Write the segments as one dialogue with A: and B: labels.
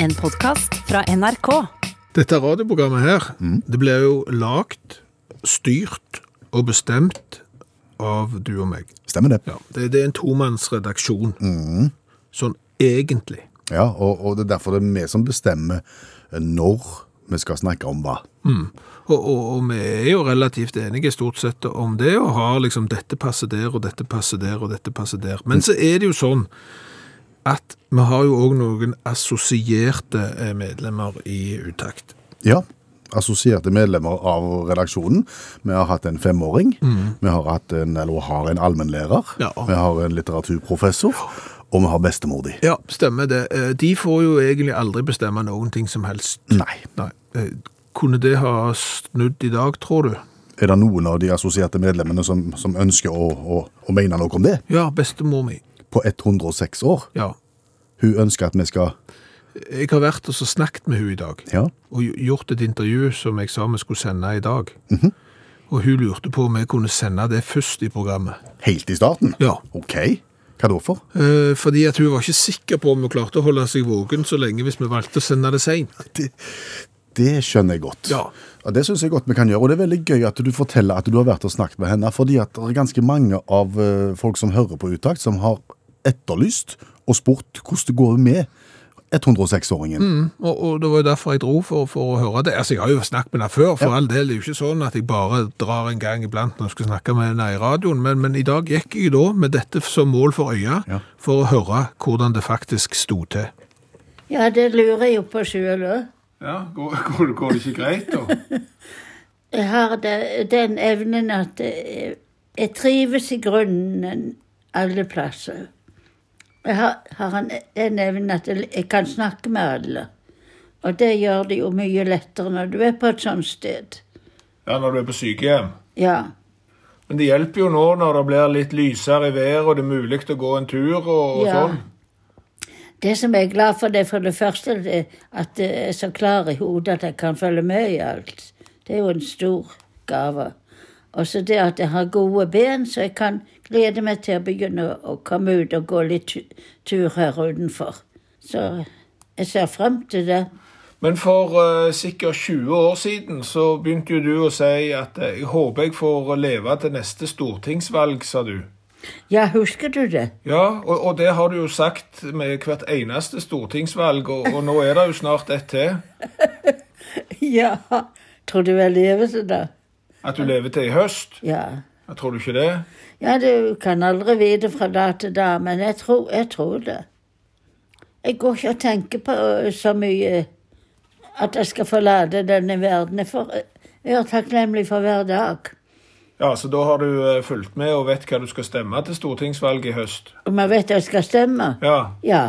A: en podkast fra NRK.
B: Dette radioprogrammet her, det blir jo lagt, styrt og bestemt av du og meg.
C: Stemmer det.
B: Ja, det, det er en tomannsredaksjon. Sånn egentlig.
C: Ja, og, og det er derfor det er vi som bestemmer når vi skal snakke om hva.
B: Mm. Og, og, og vi er jo relativt enige stort sett om det, og har liksom dette passer der, og dette passer der, og dette passer der. Men så er det jo sånn at vi har jo òg noen assosierte eh, medlemmer i utakt.
C: Ja, assosierte medlemmer av redaksjonen. Vi har hatt en femåring, vi har hatt en, eller har en allmennlærer,
B: Mm. Ja.
C: vi har en litteraturprofessor, og vi har bestemor di.
B: Ja, stemmer det. Eh, De får jo egentlig aldri bestemme noen ting som helst.
C: Nei.
B: Nei. Eh, Kunne det ha snudd i dag, tror du?
C: Er det noen av de assosierte medlemmene som, som ønsker å, å, å mene noe om det?
B: Ja, bestemor mi.
C: På 106 år.
B: Ja.
C: Hun ønsker at vi skal
B: Jeg har vært og så snakket med hun i dag,
C: Ja,
B: og gj- gjort et intervju som jeg sa vi skulle sende i dag. Og hun lurte på om jeg kunne sende det først i programmet.
C: helt i starten?
B: Ja.
C: OK. Hva da for?
B: Eh, Fordi at hun var ikke sikker på om hun klarte å holde seg våken så lenge hvis vi valgte å sende det seint.
C: Det skjønner jeg godt.
B: Ja.
C: Ja, Det syns jeg godt vi kan gjøre. Og det er veldig gøy at du forteller at du har vært og snakket med henne. Fordi at det er ganske mange av eh, folk som hører på Utakt, som har etterlyst og spurt hvordan det går med 106-åringen.
B: Og, og det var jo derfor jeg dro, for, for å høre det. Altså, Jeg har jo snakket med henne før, for all del. Det er jo ikke sånn at jeg bare drar en gang iblant når jeg skal snakke med henne i radioen. Men, men i dag gikk jeg da med dette som mål for øya,
C: Ja.
B: for å høre hvordan det faktisk sto til.
D: Ja, det lurer jeg jo på sjøl òg.
B: Ja, går, det ikke greit, da?
D: Jeg har det, den evnen at jeg, jeg trives i grunnen alle plasser. Jeg har, har en, den evnen at jeg, jeg kan snakke med alle. Og det gjør det jo mye lettere når du er på et sånt sted.
B: Ja, når du er på sykehjem.
D: Ja.
B: Men det hjelper jo nå når det blir litt lysere i været, og det er mulig å gå en tur og, sånn.
D: ja. Det som jeg er glad for, det er for det første det at jeg er så klar i hodet at jeg kan følge med i alt. Det er jo en stor gave. Og så det at jeg har gode ben, så jeg kan glede meg til å begynne å komme ut og gå litt tu- tur her utenfor. Så jeg ser frem til det.
B: Men for eh, sikkert 20 år siden så begynte jo du å si at eh, jeg håper jeg får leve til neste stortingsvalg, sa du.
D: Ja, husker du det?
B: Ja, og, og det har du jo sagt med hvert eneste stortingsvalg, og, og nå er det jo snart ett til.
D: Ja. Tror du jeg lever til det?
B: At du lever til i høst.
D: Ja.
B: Jeg tror du ikke det?
D: Ja, du kan aldri vite fra da til da, men jeg tror, jeg tror det. Jeg går ikke og tenker på øh, så mye at jeg skal forlate denne verden. Jeg, får, jeg er takknemlig for hver dag.
B: Ja, så da har du eh, fulgt med og vet hva du skal stemme til stortingsvalget i høst.
D: Og man vet jeg skal stemme.
B: Ja,
D: Ja.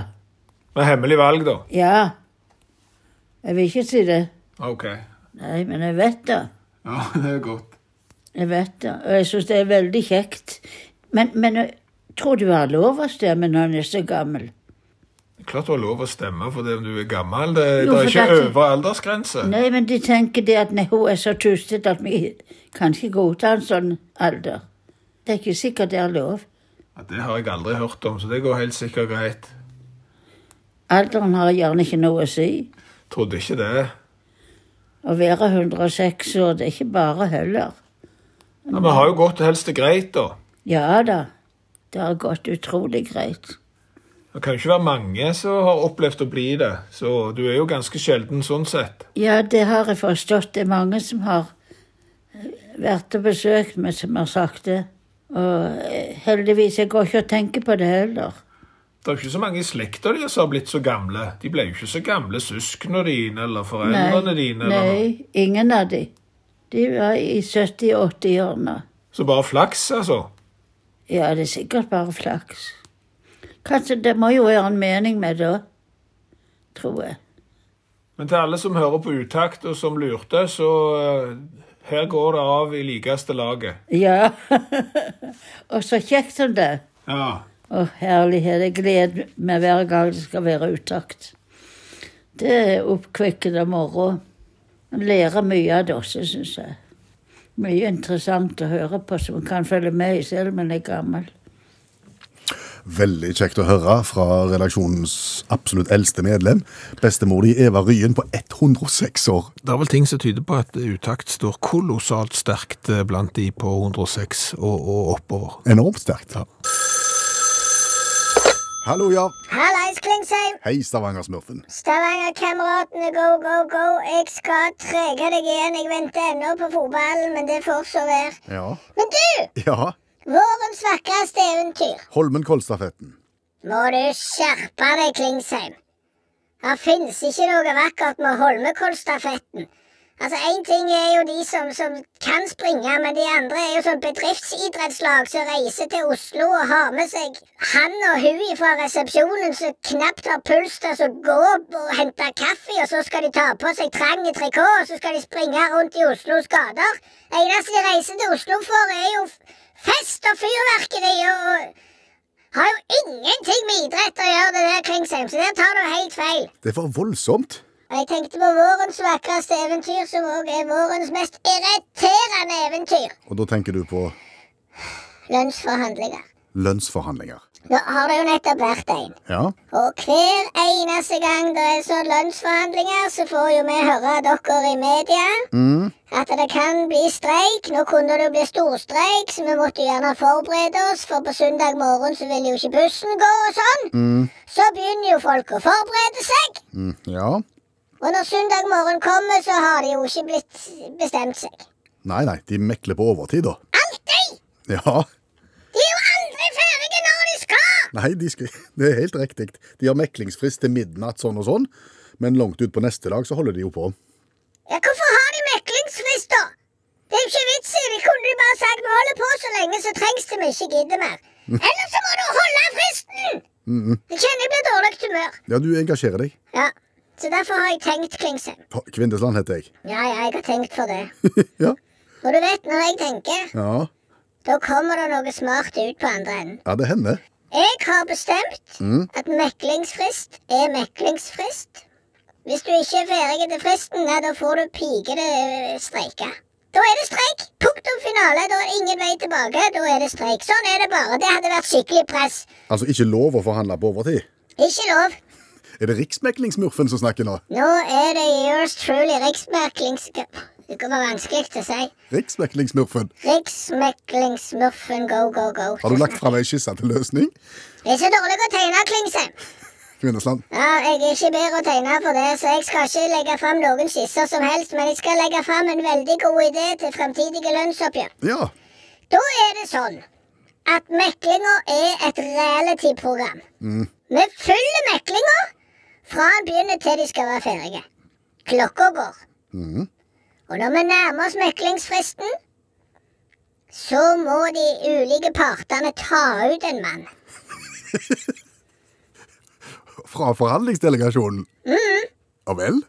B: med hemmelig valg, da.
D: Ja. Jeg vil ikke si det.
B: OK.
D: Nei, men jeg vet det.
B: Ja, det er godt.
D: Jeg vet det. Og jeg syns det er veldig kjekt. Men, men jeg tror du har lov å stemme når en er så gammel?
B: Klart du har lov å stemme fordi om du er gammel. Det,
D: Jo,
B: det er
D: for
B: ikke
D: dette-
B: øvre aldersgrense.
D: Nei, men de tenker det at nei, hun er så tustete at vi kan ikke godta en sånn alder. Det er ikke sikkert det er lov.
B: Ja, det har jeg aldri hørt om, så det går helt sikkert greit.
D: Alderen har gjerne ikke noe å si.
B: Trodde ikke det.
D: Å være 106 år, det er ikke bare heller.
B: Ja, Vi har jo godt helst det greit, da.
D: Ja da, det har gått utrolig greit.
B: Det kan jo ikke være mange som har opplevd å bli det, så du er jo ganske sjelden sånn sett.
D: Ja, det har jeg forstått. Det er mange som har øh, vært og besøkt meg, som har sagt det. Og eh, heldigvis, jeg går ikke og tenker på det heller.
B: Det er jo ikke så mange i slekta di som har blitt så gamle. De ble jo ikke så gamle søsknene dine eller foreldrene dine. Eller noe.
D: nei, ingen av de. De var i 70-80-årene.
B: Så bare flaks, altså.
D: Ja, det er sikkert bare flaks. Kanskje det må jo være en mening med det, tror jeg.
B: Men til alle som hører på utakt og som lurte, så eh, her går det av i likeste laget.
D: Ja. Og så kjekt som det.
B: Ja.
D: Å, herlighet. Jeg gleder meg hver gang det skal være utakt. Det er oppkvikkende moro. En lærer mye av det også, syns jeg. Mye interessant å høre på som en kan følge med i selv om en er gammel.
C: Veldig kjekt å høre fra redaksjonens absolutt eldste medlem. Bestemor di Eva Ryen på 106 år.
B: Det er vel ting som tyder på at utakt står kolossalt sterkt eh, blant de på 106 og, og oppover.
C: Enormt sterkt. Hallo, ja.
E: Hallais, Klingsheim!
C: Hei, Stavanger-smurfen.
E: Stavanger-kameratene, go, go, go! Jeg skal trege deg igjen. Jeg venter ennå på fotballen, men det får så være.
C: Ja.
E: Men du!
C: ja.
E: Vårens vakreste eventyr.
C: Holmenkollstafetten.
E: Må du skjerpe deg, Klingsheim. Det fins ikke noe vakkert med Holmenkollstafetten. Altså, Én ting er jo de som, som kan springe, men de andre er jo sånn bedriftsidrettslag som reiser til Oslo og har med seg han og hun fra resepsjonen som knapt har puls til å gå opp og hente kaffe, og så skal de ta på seg trang trikot, og så skal de springe rundt i Oslos gater. Det eneste de reiser til Oslo for, er jo f- fest og fyrverkeri og og har jo ingenting med idrett å gjøre, det der, Klingsheim, så der tar du helt feil.
C: Det var voldsomt.
E: Og jeg tenkte på vårens vakreste eventyr, som òg er vårens mest irriterende eventyr.
C: Og da tenker du på
E: Lønnsforhandlinger.
C: lønnsforhandlinger.
E: Nå har det jo nettopp vært en.
C: Ja.
E: Og hver eneste gang det er sånn lønnsforhandlinger, så får jo vi høre av dere i media at det kan bli streik. Nå kunne det jo bli storstreik, så vi måtte gjerne forberede oss, for på søndag morgen så ville jo ikke bussen gå og sånn. Så begynner jo folk å forberede seg.
C: Mm, ja.
E: Og når søndag morgen kommer, så har de jo ikke blitt bestemt seg.
C: Nei, nei, de mekler på overtid, da.
E: Alltid!
C: Ja.
E: De er jo aldri ferdige når de skal!
C: Nei, de skal... det er helt riktig. De har meklingsfrist til midnatt, sånn og sånn. Men langt ut på neste dag så holder de jo på.
E: Ja, Hvorfor har de meklingsfrist, da? Det er jo ikke vits i. De kunne jo bare sagt vi holder på så lenge, så trengs det vi ikke gidder mer. Ellers så må du holde fristen! Jeg kjenner jeg blir dårlig humør.
C: Ja, du engasjerer deg.
E: Ja, Så derfor har jeg tenkt, Klingsheim.
C: På Kvindesland heter jeg.
E: Ja, ja, jeg har tenkt på det.
C: Ja.
E: Og du vet, når jeg tenker,
C: Ja,
E: da kommer det noe smart ut på andre enden.
C: ja det hender.
E: Jeg har bestemt
C: Mm.
E: at meklingsfrist er meklingsfrist. Hvis du ikke er ferdig til fristen, ja, da får du pikete streike. Da er det streik! Punktum finale. Da er det ingen vei tilbake. Da er det streik. Sånn er det bare. Det hadde vært skikkelig press.
C: Altså, ikke lov å forhandle på overtid.
E: Ikke lov.
C: Er det Riksmeklingsmurfen som snakker nå?
E: Nå er det yours truly riksmeklings... Det kommer vanskelig å si.
C: Riksmeklingsmurfen,
E: Riksmeklingsmurfen go, go, go.
C: har du lagt fra deg skissa til løsning?
E: Det er så dårlig å tegne, Klingsheim.
C: Kvinnesland.
E: Ja, jeg er ikke bedre å tegne for det, så jeg skal ikke legge fram noen skisser som helst, men jeg skal legge fram en veldig god idé til fremtidige lønnsoppgjør.
C: Ja.
E: Da er det sånn at meklinga er et reality-program. Vi følger meklinga fra han begynner til de skal være ferdige. Klokka går. Og når vi nærmer oss meklingsfristen, så må de ulike partene ta ut en mann.
C: Fra forhandlingsdelegasjonen. Ja vel?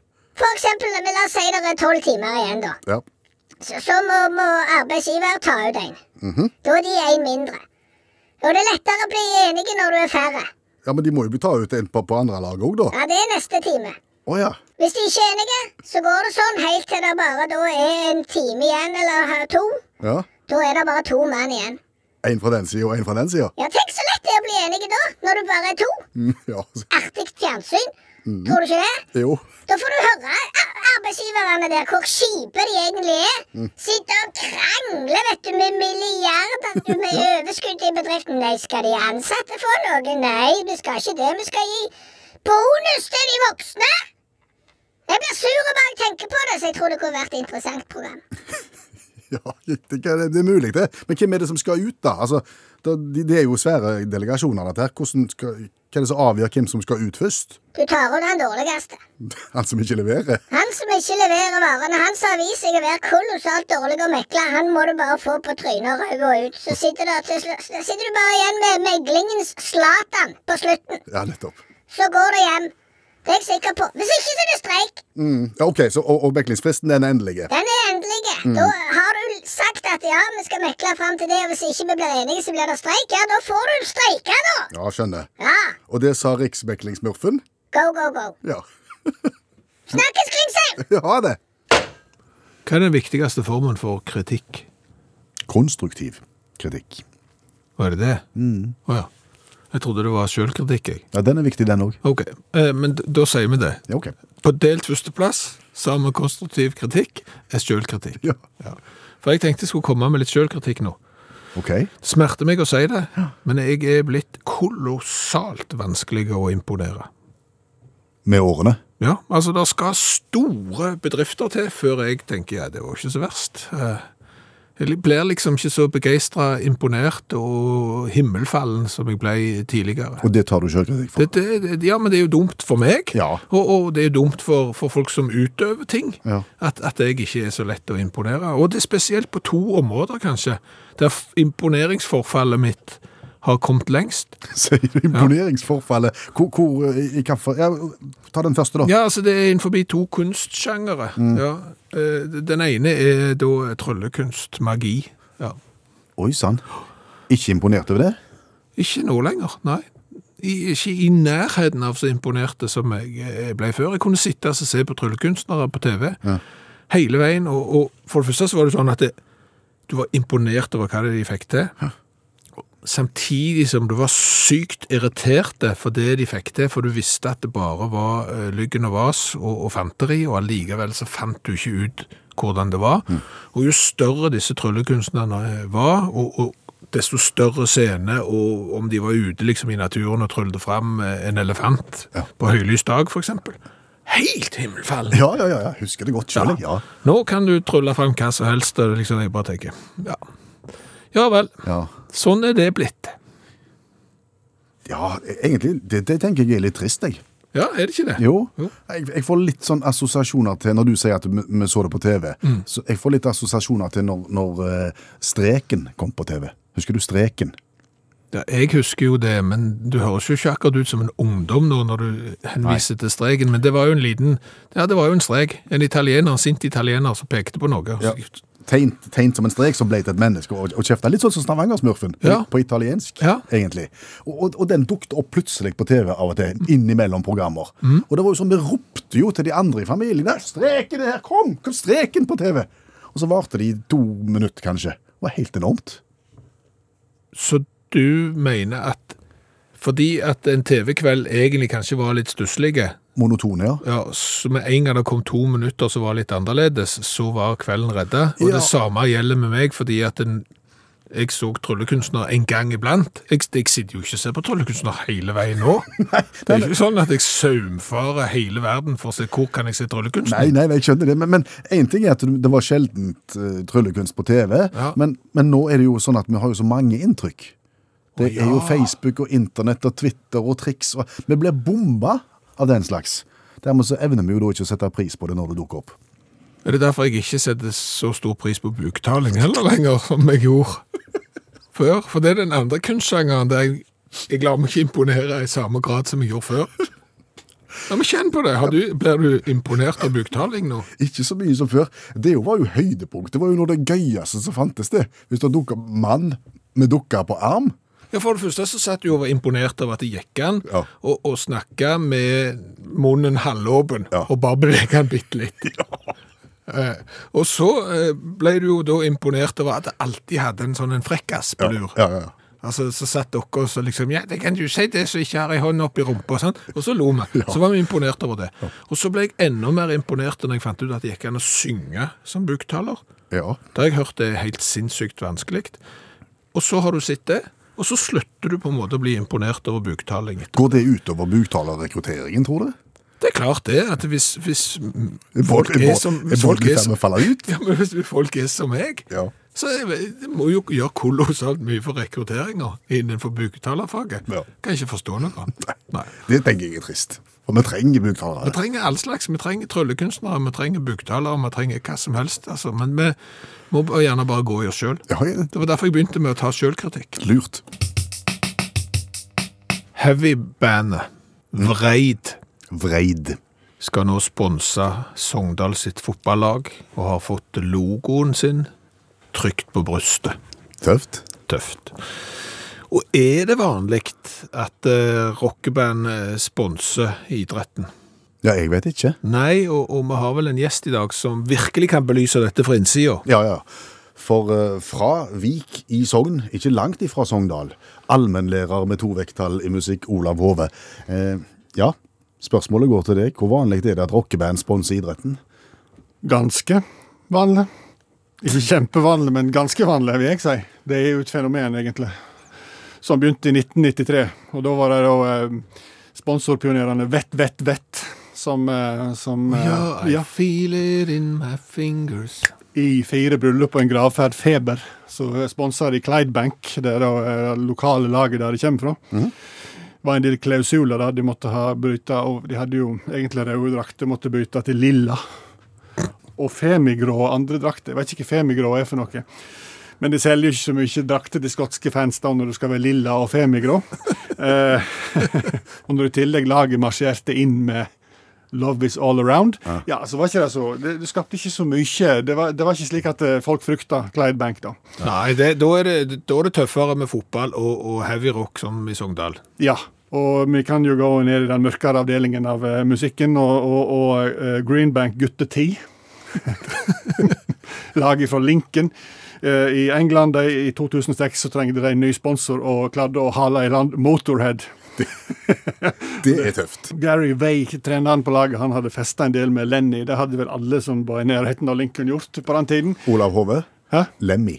E: For eksempel, men la oss si det er tolv timer igjen, da.
C: Ja.
E: Så, så må, må arbeidsgiver ta ut en. Da er de en mindre. Og det er lettere å bli enige når du er færre.
C: ja, men de må jo ta ut en på, på andre lag òg, da.
E: Ja, Det er neste time.
C: Å ja.
E: Hvis de ikke er enige, så går det sånn helt til det bare da er en time igjen, eller her to.
C: ja.
E: Da er det bare to mann igjen.
C: En fra den sida og en fra den sida.
E: Ja, Tenk så lett det er å bli enige da, når du bare er to.
C: Mm, ja.
E: Artig fjernsyn. Tror du ikke det?
C: Jo.
E: Da får du høre ar- arbeidsgiverne der hvor kjipe de egentlig er. Sitter og krangler vet du, med milliarder med overskudd i bedriften. Nei, skal de ansatte få noe? Nei, vi skal ikke det. Vi skal gi bonus til de voksne. Jeg blir sur bare jeg tenker på det, så jeg tror det kunne vært et interessant program.
C: Ja, det, kan- det er mulig, det. Men hvem er det som skal ut, da? Altså, da de, det er jo svære delegasjoner, dette her. Hvordan skal, hva er det som avgjør hvem som skal ut først?
E: Du tar ut han dårligste.
C: Han som ikke leverer?
E: Han som ikke leverer varene, han som har vist seg å være kolossalt dårlig å mekle, han må du bare få på trynet og ræva ut. Så sitter, du til, sl- så sitter du bare igjen med meglingens Zlatan på slutten.
C: Ja, nettopp.
E: Så går du hjem. Det er jeg sikker på. Hvis ikke, så er det streik.
C: Mm. Ja, OK, så, og, og meklingsfristen den er endelig.
E: Den er endelig. Da har du sagt at ja, vi skal mekle fram til det, og hvis ikke vi blir enige, så blir det streik. Ja, da får du streike, da.
C: Ja, skjønner.
E: Ja.
C: Og det sa riksmeklingsmurfen?
E: Go, go, go.
C: Ja.
E: Snakkes, Klingsheim!
C: Ja, det.
B: Hva er den viktigste formen for kritikk?
C: Konstruktiv kritikk.
B: Var det det? Å ja. Jeg trodde det var sjølkritikk, jeg.
C: Ja, den er viktig, den òg.
B: Ok, eh, men d- da sier vi det.
C: Ja, ok.
B: På delt førsteplass, sammen med konstruktiv kritikk, er sjølkritikk.
C: Ja.
B: For jeg tenkte jeg skulle komme med litt sjølkritikk nå.
C: Ok.
B: Det smerter meg å si det, men jeg er blitt kolossalt vanskelig å imponere.
C: Med årene.
B: Ja, altså det skal store bedrifter til før jeg tenker ja, det var ikke så verst. Eh, Jeg blir liksom ikke så begeistra, imponert og himmelfallen som jeg ble tidligere.
C: Og det tar du sjølkritikk for.
B: Det, det, det, ja, men det er jo dumt for meg,
C: Ja.
B: og, og det er jo dumt for, for folk som utøver ting,
C: Ja.
B: at, at jeg ikke er så lett å imponere. Og det er spesielt på to områder, kanskje, der f- imponeringsforfallet mitt har kommet lengst.
C: Sier du imponeringsforfallet? Hvor, hvor eh, i, i hva for- Ja, ta den første, da.
B: Ja, altså det er innenfor to kunstsjangere.
C: Mm.
B: Ja. Eh, Den ene er da tryllekunst, magi. Ja.
C: Oi sann. Ikke imponert over det?
B: Ikke nå lenger, nei. I, ikke i nærheten av så imponerte som jeg eh, ble før. Jeg kunne sitte og se på tryllekunstnere på TV hele veien, og, og for det første så var det sånn at det, du var imponert over hva det de fikk til, samtidig som du var sykt irriterte for det de fikk til, for du visste at det bare var eh, lyggen og vas og, og fanteri, og allikevel så fant du ikke ut hvordan det var. Og jo større disse tryllekunstnerne eh, var, og, og desto større scene, og om de var ute liksom i naturen og tryllte frem eh, en elefant
C: Ja.
B: på høylys dag, for eksempel. Helt himmelfall!
C: Ja, ja, ja. ja. Husker det godt sjøl, ja.
B: Nå kan du trylle frem hva som helst, og liksom jeg bare tenker, ja. Ja vel,
C: ja.
B: sånn er det blitt.
C: Ja, egentlig, det, det tenker jeg er litt trist, jeg.
B: Ja, er det ikke det?
C: Jo. Jeg, jeg får litt sånn assosiasjoner til, når du sier at vi, vi så det på TV, så jeg får litt assosiasjoner til når, når eh, Streken kom på TV. Husker du Streken?
B: Ja, jeg husker jo det, men du høres jo ikke akkurat ut som en ungdom nå når du henviser til streken, men det var jo en liten, ja det var jo en strek, en italiener, en sint italiener som pekte på noe.
C: Ja. Tegnt, tegnt som en strek som ble til et menneske og, og kjefta. Litt sånn som Stavanger-smurfen,
B: Ja.
C: på italiensk,
B: Ja.
C: egentlig. Og, og, og den dukket opp plutselig på TV av og til, innimellom programmer.
B: Mm.
C: Og det var jo sånn, vi ropte jo til de andre i familien der, 'Streken er her, kom! Kom streken på TV!' Og så varte det i to minutter, kanskje. Det var helt enormt.
B: Så du mener at, fordi at en TV-kveld egentlig kanskje var litt stusslige,
C: Monotone, ja.
B: ja, så med en gang det kom to minutter som var litt annerledes, så var kvelden redda. Og
C: Ja.
B: det samme gjelder med meg, fordi at en, jeg så tryllekunstner en gang iblant. Jeg, jeg sitter jo ikke og ser på tryllekunstner hele veien nå. det er ikke sånn at jeg saumfarer hele verden for å se hvor kan jeg se tryllekunstner.
C: Nei, nei, jeg skjønner det, men, men en ting er at det var sjeldent eh, tryllekunst på TV,
B: Ja.
C: men, men nå er det jo sånn at vi har jo så mange inntrykk. Det
B: Å, ja.
C: er jo Facebook og internett og Twitter og triks. Og, vi blir bomba av den slags. Dermed så evner vi jo da ikke å sette pris på det når det dukker opp.
B: Er det derfor jeg ikke setter så stor pris på buktaling heller lenger, som jeg gjorde før? For det er den andre kunstsjangeren der jeg, jeg lar meg ikke imponere i samme grad som jeg gjorde før. Ja, men kjenn på det. Har du, blir du imponert av buktaling nå?
C: Ikke så mye som før. Det jo var jo høydepunkt. Det var jo noe av det gøyeste som fantes det. Hvis det dukka mann med dukka på arm.
B: Ja, For det første så satt jeg og var imponert av at det gikk an
C: Ja.
B: å å snakke med munnen halvåpen
C: Ja.
B: og bare bevege den bitte litt. Eh, og så eh, ble du jo da imponert over at jeg alltid hadde en sånn en frekkas på lur.
C: Ja, ja, ja.
B: Altså, Så satt dere og så liksom Ja, det kan du si, det som ikke har ei hånd oppi rumpa. Og sånn. Og så lo vi. Så var vi imponert over det. Og så ble jeg enda mer imponert når jeg fant ut at det gikk an å synge som buktaler.
C: ja.
B: Det har jeg hørt det er helt sinnssykt vanskelig. Og så har du sett det, og så slutter du på en måte å bli imponert over buktaling.
C: Går det utover buktalerrekrutteringen, tror du?
B: Det er klart det, at hvis, hvis
C: Er
B: folk er som
C: Er folk i
B: er
C: ferd med
B: som,
C: å falle ut?
B: ja, men hvis folk er som meg,
C: Ja.
B: så er vi- det må jo gjøre kolossalt mye for rekrutteringer innenfor buktalerfaget.
C: Ja.
B: Kan ikke forstå noe annet. Nei.
C: Det tenker jeg er trist. For vi trenger
B: Vi
C: buktalere.
B: trenger all slags. Vi trenger tryllekunstnere, vi trenger buktalere, vi trenger hva som helst. Altså. Men vi må gjerne bare gå i oss sjøl.
C: Ja, jeg-
B: Det var derfor jeg begynte med å ta sjølkritikk.
C: lurt.
B: Heavybandet Vreid
C: Vreid.
B: skal nå sponse Sogndal sitt fotballag og har fått logoen sin trygt på brystet.
C: Tøft.
B: Tøft. Og er det vanlig at eh, rockeband eh, sponser idretten?
C: Ja, jeg vet ikke.
B: Nei, og, og vi har vel en gjest i dag som virkelig kan belyse dette fra innsida.
C: Ja, ja. For eh, fra Vik i Sogn, ikke langt ifra Sogndal, allmennlærer med to vekttall i musikk, Olav Hove. Eh, ja, spørsmålet går til deg. Hvor vanlig er det at rockeband sponser idretten?
F: Ganske vanlig. Ikke kjempevanlig, men ganske vanlig, vil jeg si. Det er jo et fenomen, egentlig. Som begynte i 1993. Og da var det da eh, sponsorpionerene Vett, Vett, Vett som, eh, som eh,
B: Ja, I
F: ja,
B: feel it in my fingers.
F: I fire bryllup og en gravferd, Feber, så sponsa de Clydebank, det er da eh, det lokale laget der de kommer fra. var en del klausuler der de måtte ha bytta, og de hadde jo egentlig røde drakter, måtte bytte til lilla. Og femigrå og andre drakter. Jeg vet ikke hva femigrå er for noe. Men de selger jo ikke så mye drakter til skotske fans da når du skal være lilla og femigrå. Eh, og når i tillegg laget marsjerte inn med Love is all around. Ja, så var ikke Det så, det, det skapte ikke så mye. Det var, det var ikke slik at eh, folk frykta Clyde Bank, da.
B: Nei, det, da, er det, da er det tøffere med fotball og, og heavy rock som i Sogndal.
F: Ja, og vi kan jo gå ned i den mørkere avdelingen av eh, musikken, og, og, og eh, Green Bank Gutte-10. Laget fra Lincoln. Eh, I England de, i 2006 så trengte de en ny sponsor og klarte å hale i land Motorhead.
C: Det er tøft.
F: Gary Way, treneren på laget, han hadde festa en del med Lenny. Det hadde vel alle som var i nærheten av Lincoln gjort på den tiden.
C: Olav Hove,
F: Hæ?
C: Lemmy.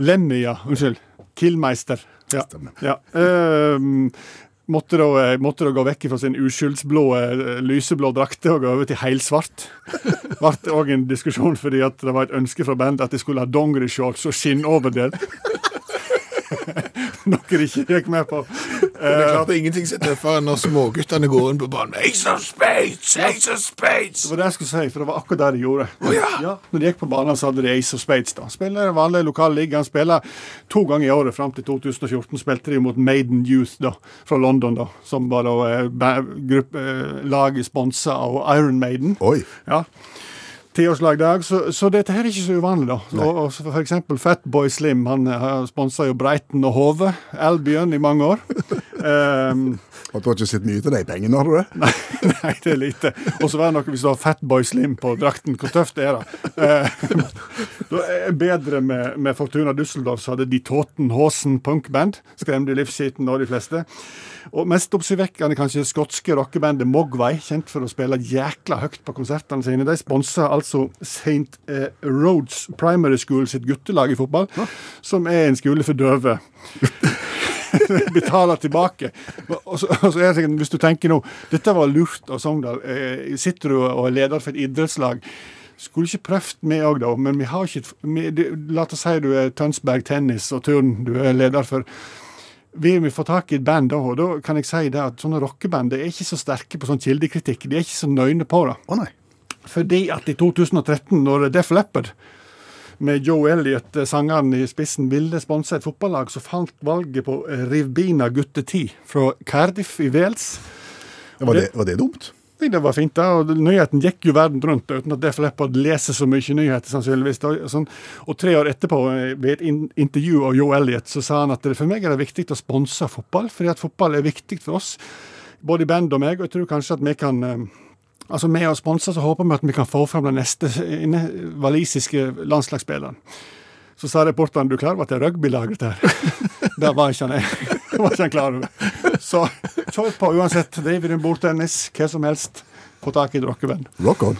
F: Lemmy, ja. Unnskyld. Killmeister. Ja. ja. Ehm, måtte, da, eh, måtte da gå vekk fra sin uskyldsblå, eh, lyseblå drakte og gå over til helsvart. Ble òg en diskusjon fordi at det var et ønske fra bandet at de skulle ha dongerishorts og skinnoverdel. Noe de ikke gikk med på.
B: Det er klart det er ingenting som er tøffere enn når småguttene går inn på banen med Ace of Spades! Ace of Spades!
F: Det var det jeg skulle si, for det var akkurat det de gjorde.
B: ja.
F: Når de gikk på banen, så hadde de Ace of Spades. da. Spiller den vanlige lokale ligaen, spiller to ganger i året fram til 2014. Spilte de mot Maiden Youth da, fra London, da, som var da eh, ba- gruppe, eh, laget sponsa av Iron Maiden.
C: Oi.
F: Ja. Tiårslag i dag, så, så dette her er ikke så uvanlig, da. Og, og så for eksempel Fatboy Slim, han sponsa jo Breiten og Hove, Albion, i mange år. Ehm,
C: Og du har ikke sett mye til de pengene, har du det?
F: Nei, nei, det er lite. Og så var det noe hvis du har Fatboy Slim på drakten. Hvor tøft det er da? Eh, da er bedre med, med Fortuna Düsseldorf, så hadde de Tåten Håsen punkband. Skremte i livsskiten av de fleste. Og mest oppsiktsvekkende kanskje skotske rockebandet Mogwai, kjent for å spille jækla høyt på konsertene sine. De sponsa altså St. Eh, Rhodes Primary School sitt guttelag i fotball, som er en skole for døve betaler tilbake. Og så, og så er det sikkert, Hvis du tenker nå Dette var lurt av Sogndal. Eh, sitter du og er leder for et idrettslag? Skulle ikke prøvd vi òg, da. Men vi har ikke et- vi, du, La oss si du er Tønsberg tennis og turn du er leder for. Vil vi få tak i et band da, og da kan jeg si det at sånne rockeband de er ikke så sterke på sånn kildekritikk. De er ikke så nøyne på det.
C: Å nei.
F: Fordi at i 2013, når Def Leppard med Joe Elliot, eh, sangeren i spissen, ville sponse et fotballag, så falt valget på eh, Rivbina gutte 10 fra Cardiff i Wales.
C: Var det, var det dumt?
F: Nei, Det var fint, da. og Nyheten gikk jo verden rundt uten at Def Leppard leser så mye nyheter, sannsynligvis. da, og Sånn. Og tre år etterpå, eh, ved et in- intervju av Joe Elliot, så sa han at det for meg er det viktig å sponse fotball, fordi at fotball er viktig for oss, både i band og meg, og jeg tror kanskje at vi kan eh, Altså Med å sponse så håper vi at vi kan få fram den neste eh, ne- walisiske landslagsspilleren. Så sa reporteren du er klar over at det er rugbylag, dette her. Der var ikke han Det var ikke han klar over. Så kjør på uansett. Driver du bordtennis, hva som helst, få tak i et rockevenn.
C: Rock on.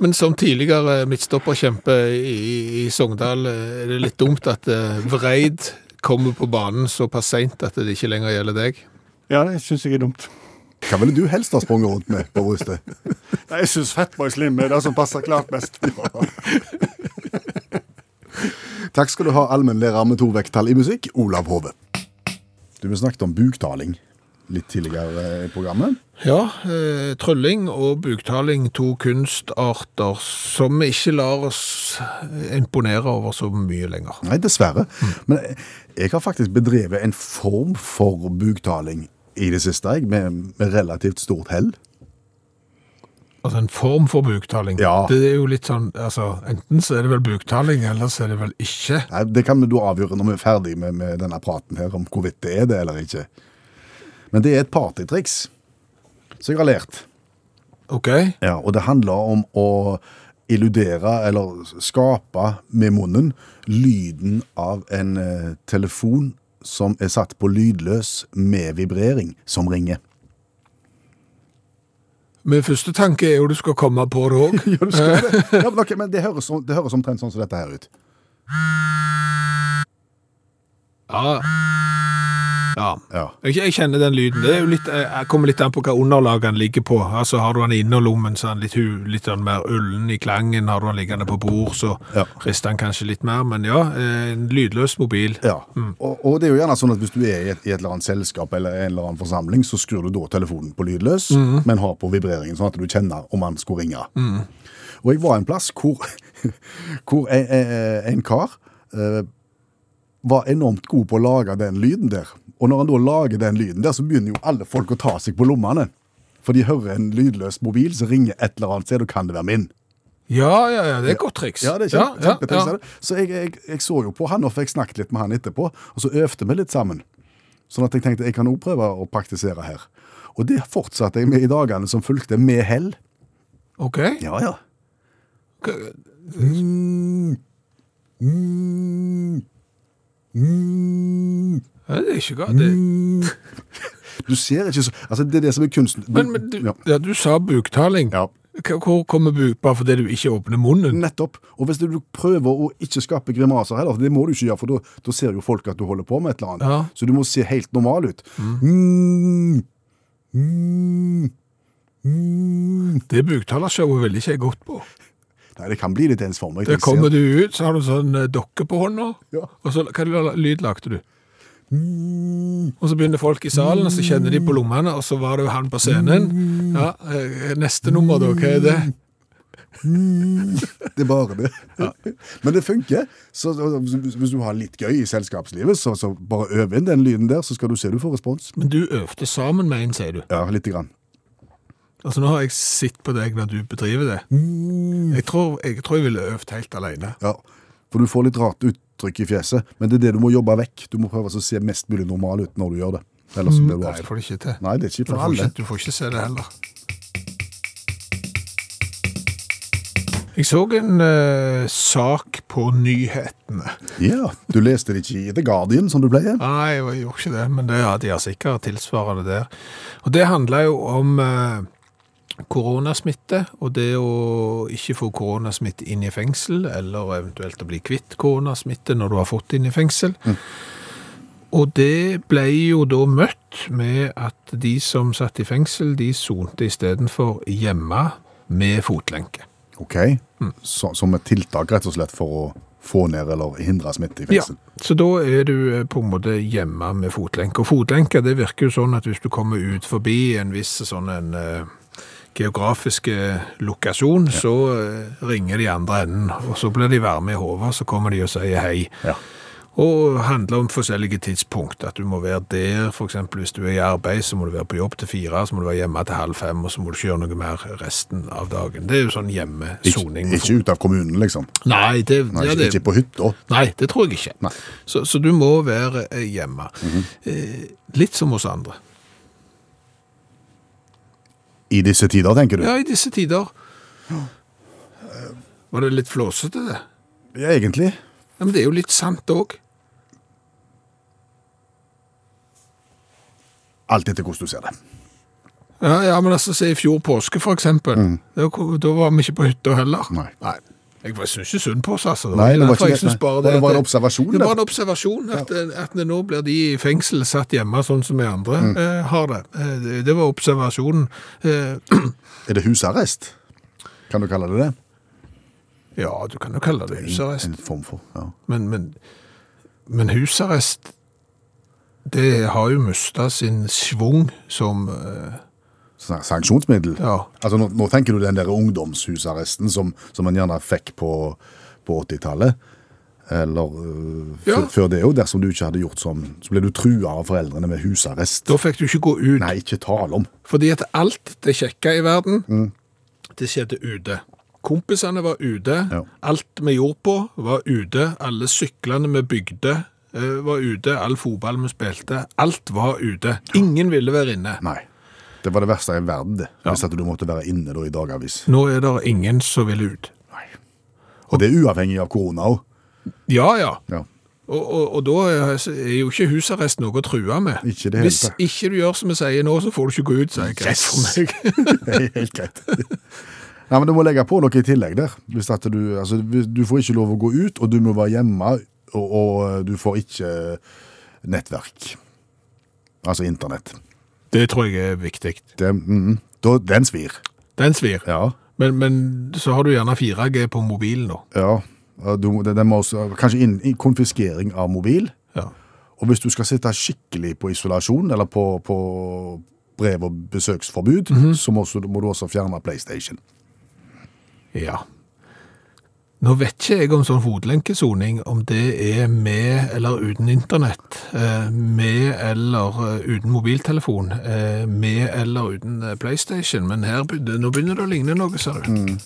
B: Men som tidligere midtstopperkjempe i, i Sogndal, eh, er det litt dumt at eh, Vreid kommer på banen såpass seint at det ikke lenger gjelder deg.
F: Ja, det syns jeg er dumt.
C: Hva ville du helst ha sprunget rundt med på brystet?
F: Nei, Jeg syns Fatboy Slim er det som passer klart best.
C: Takk skal du ha, allmennlærer med to vekttall i musikk, Olav Hove. Du, Vi snakket om buktaling litt tidligere i programmet.
B: Ja, eh, trylling og buktaling, to kunstarter som vi ikke lar oss imponere over så mye lenger.
C: Nei, dessverre. Men jeg- jeg har faktisk bedrevet en form for buktaling i det siste, jeg, med, med relativt stort hell.
B: Altså en form for buktaling.
C: Ja.
B: Det er jo litt sånn, altså enten så er det vel buktaling, eller så er det vel ikke.
C: Nei, Det kan vi da avgjøre når vi er ferdig med, med denne praten her, om hvorvidt det er det eller ikke. Men det er et partytriks som jeg har lært.
B: Ok?
C: Ja, og det handler om å illudere eller skape med munnen lyden av en eh, telefon som er satt på lydløs med vibrering, som ringer.
B: Min første tanke er jo du skal komme på det òg.
C: Ja, du skal det. Ja, men, ok, men det, høres, som- det høres omtrent sånn som dette her ut.
B: Ja. ja.
C: Ja.
B: Jeg, jeg kjenner den lyden. Det er jo litt, eh, jeg jeg kommer litt an på hva underlaget han ligger på. Altså Har du han i innerlommen, så er han litt, hu- litt sånn mer ullen i klangen. Har du han liggende på bord, så
C: Ja.
B: rister han kanskje litt mer. Men ja, eh, en lydløs mobil.
C: Ja, og, og det er jo gjerne sånn at hvis du er i et, i et eller annet selskap eller en eller annen forsamling, så skrur du da telefonen på lydløs, men har på vibreringen sånn at du kjenner om han skulle ringe. Og jeg var en plass hvor, hvor en, en, en kar eh, var enormt god på å lage den lyden der. Og når han da lager den lyden der, så begynner jo alle folk å ta seg på lommene. For de hører en lydløs mobil, så ringer et eller annet sted, og kan det være min.
B: Ja, ja, ja, det er et godt triks.
C: Ja, det er kjempe,
B: Ja, ja,
C: kjempetriks,
B: ja.
C: er det. Så jeg, jeg, jeg så jo på han, og fikk snakket litt med han etterpå, og så øvde vi litt sammen. Sånn at jeg tenkte jeg kan også prøve å praktisere her. Og det fortsatte jeg med i dagene som fulgte, med hell.
B: OK.
C: Ja, ja.
B: K- Ja, det er ikke galt. Det...
C: Du ser ikke så Altså, det er det som er kunsten. Du,
B: Men, men du,
C: ja.
B: ja. du sa buktaling.
C: Ja.
B: K- Hvor kommer buk bare fordi du ikke åpner munnen?
C: Nettopp. Og hvis du prøver å ikke skape grimaser heller, for det må du ikke gjøre, for da- da ser jo folk at du holder på med et eller annet.
B: Ja.
C: Så du må se helt normal ut. Mm. Mm. Mm.
B: Det buktalershowet vil ikke jeg gått på.
C: Nei, det kan bli litt ensformig.
B: Der kommer du ut, så har du sånn eh, dokke på hånda,
C: Ja.
B: og så hva la- lyd lagde du?
C: Mm.
B: Og så begynner folk i salen, og så kjenner de på lommene, og så var det jo han på scenen.
C: Mm.
B: Ja, eh, neste nummer da, hva er det?
C: Det er bare det. Men det funker. Så så- hvis du har litt gøy i selskapslivet, så, så bare øv inn den lyden der, så skal du se du får respons.
B: Men du øvde sammen med en, sier du.
C: Ja, lite grann.
B: Altså nå har jeg sett på deg når du bedriver det.
C: Mm.
B: Jeg tror jeg, tror jeg ville øvd helt alene.
C: Ja. For du får litt rart uttrykk i fjeset, men det er det du må jobbe vekk. Du må prøve å se mest mulig normal ut når du gjør det. Ellers så blir du
B: Mm. Nei, jeg
C: avslørt.
B: får det ikke til.
C: Nei, det er ikke
B: Du
C: for
B: får
C: alle.
B: ikke, du får ikke se det heller. Jeg så en eh, sak på nyhetene.
C: Ja, Du leste det ikke i The Guardian, som du pleier?
B: Nei, jeg gjorde ikke det, men det, ja, de har sikkert tilsvarende der. Og det handler jo om eh, koronasmitte, og det å ikke få koronasmitte inn i fengsel, eller eventuelt å bli kvitt koronasmitte når du har fått det inn i fengsel. Og det ble jo da møtt med at de som satt i fengsel, de sonte istedenfor hjemme med fotlenke.
C: Ok.
B: Mm.
C: Så, som et tiltak, rett og slett, for å få ned eller hindre smitte i
B: Ja,
C: fengsel?
B: så da er du eh, på en måte hjemme med fotlenke. Og fotlenke, det virker jo sånn at hvis du kommer ut forbi en viss sånn en eh, geografisk eh, lokasjon, så eh, ringer de andre enden, og så blir de varme i hodet, så kommer de og sier hei.
C: Ja.
B: Og handler om forskjellige tidspunkt, at du må være der, for eksempel hvis du er i arbeid, så må du være på jobb til fire, så må du være hjemme til halv fem, og så må du ikke gjøre noe mer resten av dagen. Det er jo sånn
C: Ikke,
B: hjemmesoning. med
C: ikke ut av kommunen, liksom?
B: fot- Nei, det,
C: Nei,
B: ja,
C: ikke,
B: det,
C: ikke på hytta?
B: Nei, det tror jeg ikke.
C: Nei. Mhm.
B: Så, så du må være eh, hjemme. eh, litt som hos andre.
C: I disse tider, tenker du?
B: Ja, i disse tider. Eh, Var det litt flåsete, det?
C: Ja, egentlig.
B: Ja, men det er jo litt sant òg.
C: Alt etter hvordan du ser det.
B: Ja, ja, men altså, se i fjor påske, for eksempel. Da, ko- da var vi ikke på hytta heller.
C: Mm. Nei.
B: Jeg var- syns ikke synd på oss, altså.
C: Nei, det var
B: derfor
C: ikke
B: jeg
C: det,
B: synes
C: nei.
B: bare
C: Var det bare en
B: at-
C: observasjon,
B: Det var
C: eller?
B: en observasjon. At, eh, at nå blir de i fengsel satt hjemme, sånn som vi andre
C: Mm.
B: eh, har det. Eh, det. Det var observasjonen. Eh,
C: Er det husarrest? Kan du kalle det det?
B: ja, du kan jo kalle det husarrest.
C: En form for, ja.
B: Men, men, men husarrest, det har jo mista sin svung som eh,
C: Sa- sånn Sanksjonsmiddel?
B: Ja.
C: Altså, nå, nå tenker du den der ungdomshusarresten som, som man gjerne fikk på, på 80-tallet. Eller øh,
B: Ja.
C: før- før det òg, dersom du ikke hadde gjort sånn. Så ble du trua av foreldrene med husarrest.
B: Da fikk du ikke gå ut.
C: Nei, ikke tale om.
B: Fordi at alt det kjekke i verden,
C: Mm.
B: det skjedde ute. Kompisene var ute.
C: Ja.
B: Alt vi gjorde på, var ute. Alle syklene vi bygde, eh, var ute. All fotball vi spilte, alt var ute. Ingen ville være inne.
C: Nei. Det var det verste i verden, det.
B: Ja.
C: Hvis at du måtte være inne da i dagavis.
B: Nå er det ingen som vil ut.
C: Nei. Og det er uavhengig av korona òg.
B: Ja, ja.
C: Ja.
B: Og, og, og da er jo ikke husarrest noe å true med.
C: Ikke i det hele
B: Hvis
C: tatt.
B: ikke du gjør som vi sier nå, så får du ikke gå ut, sier jeg. Greit for meg.
C: Det er helt greit. Nei, men Du må legge på noe i tillegg der. Hvis at du, altså, hvis- du får ikke lov å gå ut, og du må være hjemme, og, og du får ikke eh, nettverk. Altså internett.
B: Det tror jeg er viktig.
C: Det, mm, da, den svir.
B: Den svir.
C: Ja.
B: Men, men så har du gjerne 4G på mobilen nå.
C: ja. Og Du, den den må også, kanskje inn, inn- konfiskering av mobil.
B: Ja.
C: Og hvis du skal sitte skikkelig på isolasjon, eller på, på brev- og besøksforbud,
B: Mhm.
C: så må, også- må du også fjerne PlayStation.
B: ja. Nå vet ikke jeg om sånn fotlenkesoning, om det er med eller uten internett, eh, med eller eh, uten mobiltelefon, eh, med eller uten eh, Playstation, men her, be- nå begynner det å ligne noe, ser du.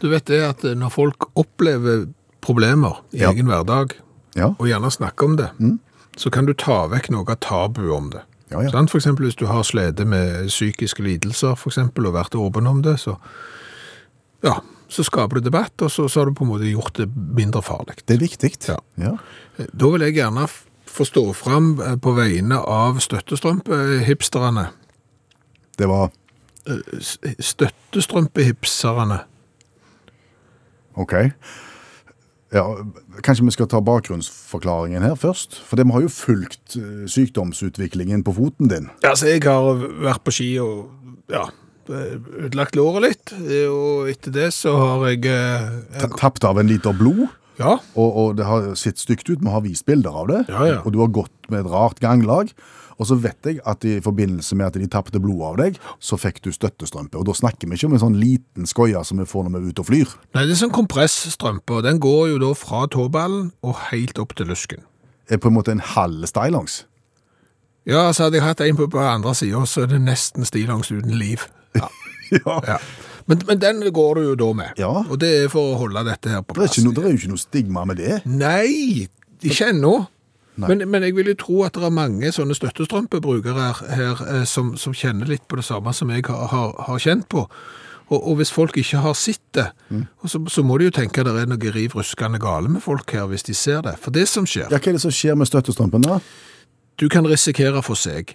B: Du vet det at eh, når folk opplever problemer i
C: Ja.
B: egen hverdag,
C: Ja,
B: og gjerne snakke om det, så kan du ta vekk noe av tabu om det.
C: Mm. Ja, ja.
B: Sant? For eksempel hvis du har slede med psykiske lidelser, for eksempel, og vært åpen om det, så, ja, så skaper du debatt, og så, så har du på en måte gjort det mindre farlig.
C: det er viktig.
B: Ja.
C: Ja.
B: Da vil jeg gjerne f- få stå frem eh, på vegne av støttestrømpehipsterne.
C: Det var
B: S- Støttestrømpehipserne.
C: OK. Ja, kanskje vi skal ta bakgrunnsforklaringen her først? For vi har jo fulgt eh, sykdomsutviklingen på foten din.
B: Altså, jeg har vært på ski og ja, utlagt låret litt, eh, og etter det så har jeg, eh,
C: Ta- Tapt av en liter blod,
B: ja,
C: og, og det har sett stygt ut. Vi har vist bilder av det.
B: Ja, ja.
C: Og du har gått med et rart ganglag. Og så vet jeg at i forbindelse med at de tapte blodet av deg, så fikk du støttestrømpe. Og da snakker vi ikke om en sånn liten skoie som vi får når vi er ute og flyr.
B: Nei, det er sånn kompressstrømpe, og den går jo da fra tåballen og helt opp til lusken.
C: Det er på en måte en halv stillongs.
B: Ja, så hadde jeg hatt en på, på andre siden, så er det nesten stillongs uten liv. Ja,
C: Ja.
B: ja. Men, men den går du jo da med.
C: Ja.
B: Og det er for å holde dette her på
C: Det er,
B: plass.
C: ikke noe, det er jo ikke noe stigma med det.
B: Nei, ikke ennå. Men, men jeg vil jo tro at det er mange sånne støttestrømpebrukere her, her eh, som, som kjenner litt på det samme som jeg har, har, har kjent på. Og, og hvis folk ikke har sett det,
C: Mm.
B: og så, så må de jo tenke at det er noe riv ruskende gale med folk her hvis de ser det. For det som skjer,
C: Ja, Hva er det som skjer med støttestrømpen da?
B: du kan risikere for seg.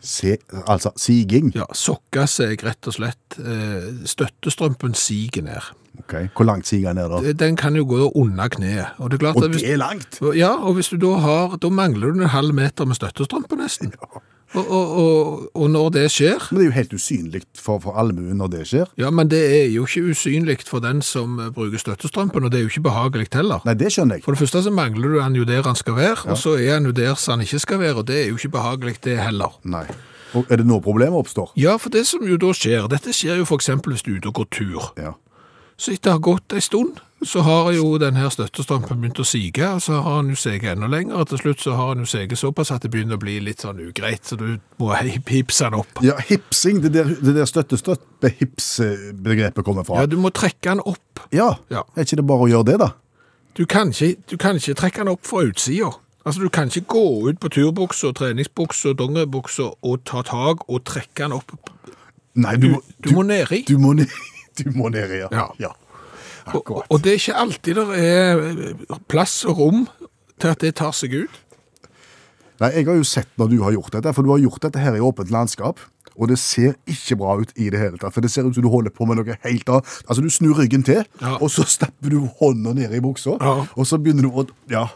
C: Se, altså, siging.
B: Ja, sokke seg rett og slett. eh, Støttestrømpen siger ned.
C: Ok. Hvor langt siger den er da?
B: Den kan jo gå under kneet. Og det er klart
C: Og
B: at altså, hvis,
C: det er langt!
B: Ja, og hvis du da har Da mangler du en halv meter med støttestrømpe nesten. Og, og, og, og når det skjer
C: Men det er jo helt usynlig for, for allmuen når det skjer.
B: Ja, men det er jo ikke usynlig for den som eh, bruker støttestrømpen, og det er jo ikke behagelig heller.
C: Nei, det skjønner jeg.
B: For det første så mangler du han jo der han skal være, og så er han jo der som han ikke skal være, og det er jo ikke behagelig det heller.
C: Nei. Og er det nå problemet oppstår?
B: Ja, for det som jo da skjer, dette skjer jo for eksempel hvis du er ute og går tur.
C: Ja.
B: Så etter å ha gått en stund, så har jo denne støttestrømpen begynt å sige, og så har han jo seget enda lenger, og til slutt så har han jo seget såpass at det begynner å bli litt sånn ugreit, så du må hei- hipse den opp.
C: Ja, hipsing, det der, det der støtte-støtte-hips-begrepet eh, kommer fra.
B: Ja, du må trekke den opp.
C: Ja.
B: Ja.
C: Er ikke det bare å gjøre det, da?
B: Du kan ikke, du kan ikke trekke den opp fra utsida. Altså, du kan ikke gå ut på turbukser, treningsbukser, dongeribukser og ta tag og trekke den opp.
C: Nei, du, må-
B: Du må ned i.
C: Du må ned, du må ned ja.
B: Ja.
C: ja.
B: Og, og- og det er ikke alltid det er plass og rom til at det tar seg ut.
C: Nei, jeg har jo sett når du har gjort dette, for du har gjort dette her i åpent landskap. Og det ser ikke bra ut i det hele tatt, for det ser ut som du holder på med noe helt annet. Altså, du snur ryggen til,
B: Ja.
C: og så stapper du hånda ned i buksa,
B: Ja.
C: og så begynner du å Ja.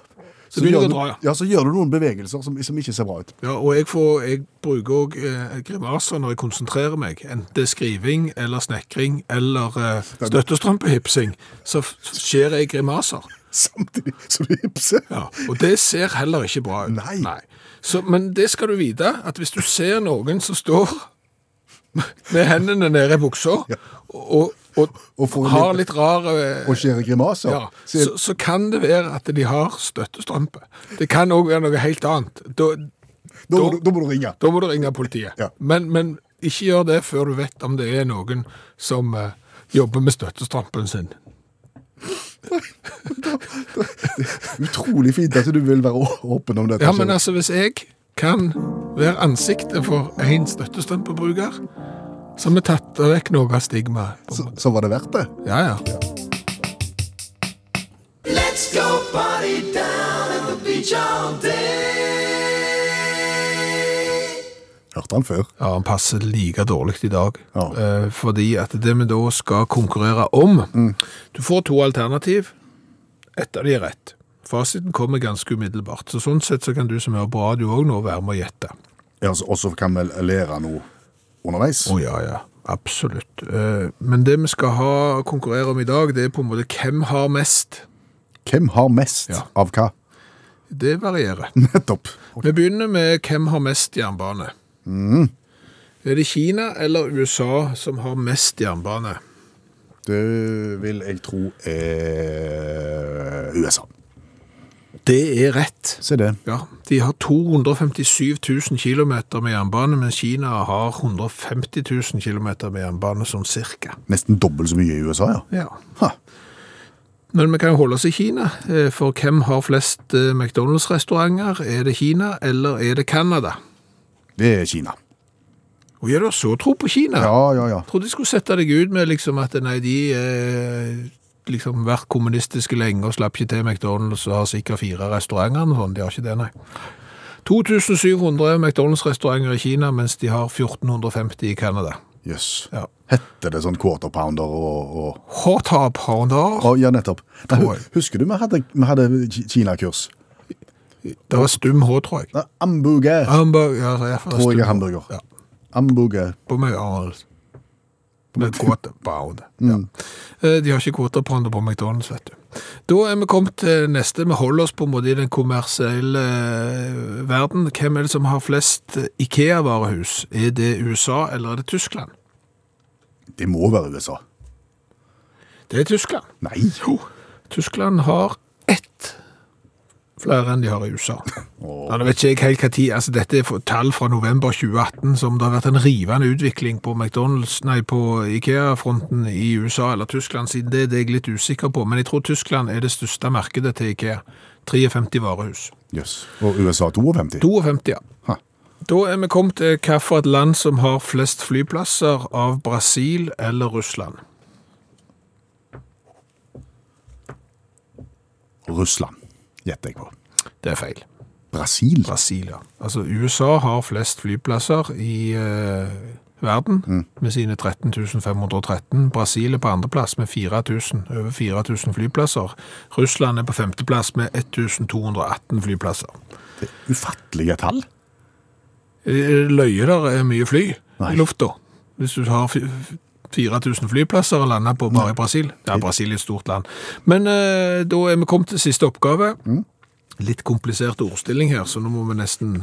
B: Så begynner
C: gjør
B: du å
C: du-
B: dra, ja.
C: ja, så gjør du noen bevegelser som, som ikke ser bra ut.
B: Ja, og jeg, får, jeg bruker òg eh, grimaser når jeg konsentrerer meg. Enten det er skriving eller snekring eller eh, støttestrømpehipsing, så f- skjer jeg grimaser.
C: Samtidig som du hipser.
B: Ja, og det ser heller ikke bra ut.
C: Nei.
B: Så, men det skal du vite, at hvis du ser noen som står med hendene nede i buksa og, og,
C: Og får en
B: har
C: liten-
B: litt rar eh,
C: Og skjærer grimaser.
B: ja,
C: Så-
B: så, så kan det være at de har støttestrømpe. Det kan òg være noe helt annet. Da,
C: da, må du, da må du ringe.
B: Da må du ringe politiet.
C: Ja.
B: Men, men ikke gjør det før du vet om det er noen som eh, jobber med støttestrampen sin.
C: Utrolig fint at du vil være å- åpen om dette.
B: Ja, men
C: selv.
B: altså, hvis jeg kan være ansiktet for en støttestrampebruker, så har vi tatt vekk noe av stigmaet. på en
C: så, så var det verdt det.
B: måte. Ja, ja.
G: Let's go party down at the beach all day.
C: Hørte han før.
B: Ja, han passer like dårlig i dag.
C: Ja.
B: Eh, fordi at det vi da skal konkurrere om Du får to alternativ. Ett av de er rett. Fasiten kommer ganske umiddelbart. Så Sånn sett så kan du som hører på radio òg nå være med å gjette.
C: Ja, så- Og så kan vi lære noe underveis.
B: Å ja, ja. Absolutt. Eh, Men det vi skal ha konkurrere om i dag, det er på en måte hvem har mest.
C: Hvem har mest
B: Ja.
C: av hva?
B: Det varierer.
C: Nettopp.
B: Vi begynner med hvem har mest jernbane. Mm. Er det Kina eller USA som har mest jernbane?
C: Det vil jeg tro er USA.
B: Det er rett.
C: Se det.
B: Ja, de har 257 000 kilometer med jernbane, men Kina har 150 000 kilometer med jernbane som cirka.
C: Nesten dobbelt så mye i USA, ja.
B: Ja.
C: Ha.
B: Men vi kan jo holde oss i Kina, eh, for hvem har flest eh, McDonalds-restauranter? Er det Kina, eller er det Kanada?
C: Det er Kina.
B: Og gjør du så tro på Kina?
C: Ja, ja, ja.
B: Jeg trodde de skulle sette deg ut med liksom at nei, de eh, liksom vært kommunistiske lenge og slapp ikke til McDonalds og har sikkert fire restauranter og sånn. De har ikke det, nei. 2700 McDonalds-restauranter i Kina, mens de har 1450 i Canada.
C: Jøss.
B: Ja.
C: Heter det sånn quarter pounder og, og...
B: Hot up, Honda.
C: Å, Ja, nettopp. Nei,
B: Tror
C: hu-
B: jeg.
C: husker du vi hadde, vi hadde Ki- Kina-kurs?
B: Det var stum H, tror jeg.
C: Nei, Hamburger.
B: Hamburg, ja, så jeg får
C: Tror jeg er
B: stum H.
C: hamburger.
B: Ja,
C: Hamburger.
B: på meg annet. Med quarterpound. Ja. Eh, De har ikke quarterpound på McDonald's, vet du. Da er vi kommet til neste. Vi holder oss på en måte i den kommersielle eh, verden. Hvem er det som har flest IKEA-varehus? Er det USA, eller er det Tyskland?
C: Det må være USA.
B: Det er Tyskland.
C: Nei.
B: Jo, Tyskland har ett flere enn de har i USA. Ja, nå vet ikke jeg helt hva tid, altså dette er for, tall fra november 2018, som det har vært en rivende utvikling på McDonalds, nei, på IKEA-fronten i USA eller Tyskland siden, det, det er jeg litt usikker på, men jeg tror Tyskland er det største markedet til IKEA. 53 varehus.
C: Jøss. Og USA 52.
B: 52, ja.
C: Ha.
B: Da er vi kommet til hva for et land som har flest flyplasser av Brasil eller Russland.
C: Russland. Gjetter jeg på.
B: Det er feil.
C: Brasil.
B: Brasil, ja. Altså, USA har flest flyplasser i eh, verden, med sine 13.513. Brasil er på andreplass med 4000, over 4000 flyplasser. Russland er på femteplass med 1218 flyplasser.
C: Ufattelige tall.
B: Eh, Løye der er mye fly
C: Nei.
B: i lufta. Hvis du har fi- 4000 flyplasser og lander på bare i Brasil. Ja, Brasil er et stort land. Men eh, da er vi kommet til siste oppgave. Litt komplisert ordstilling her, så nå må vi nesten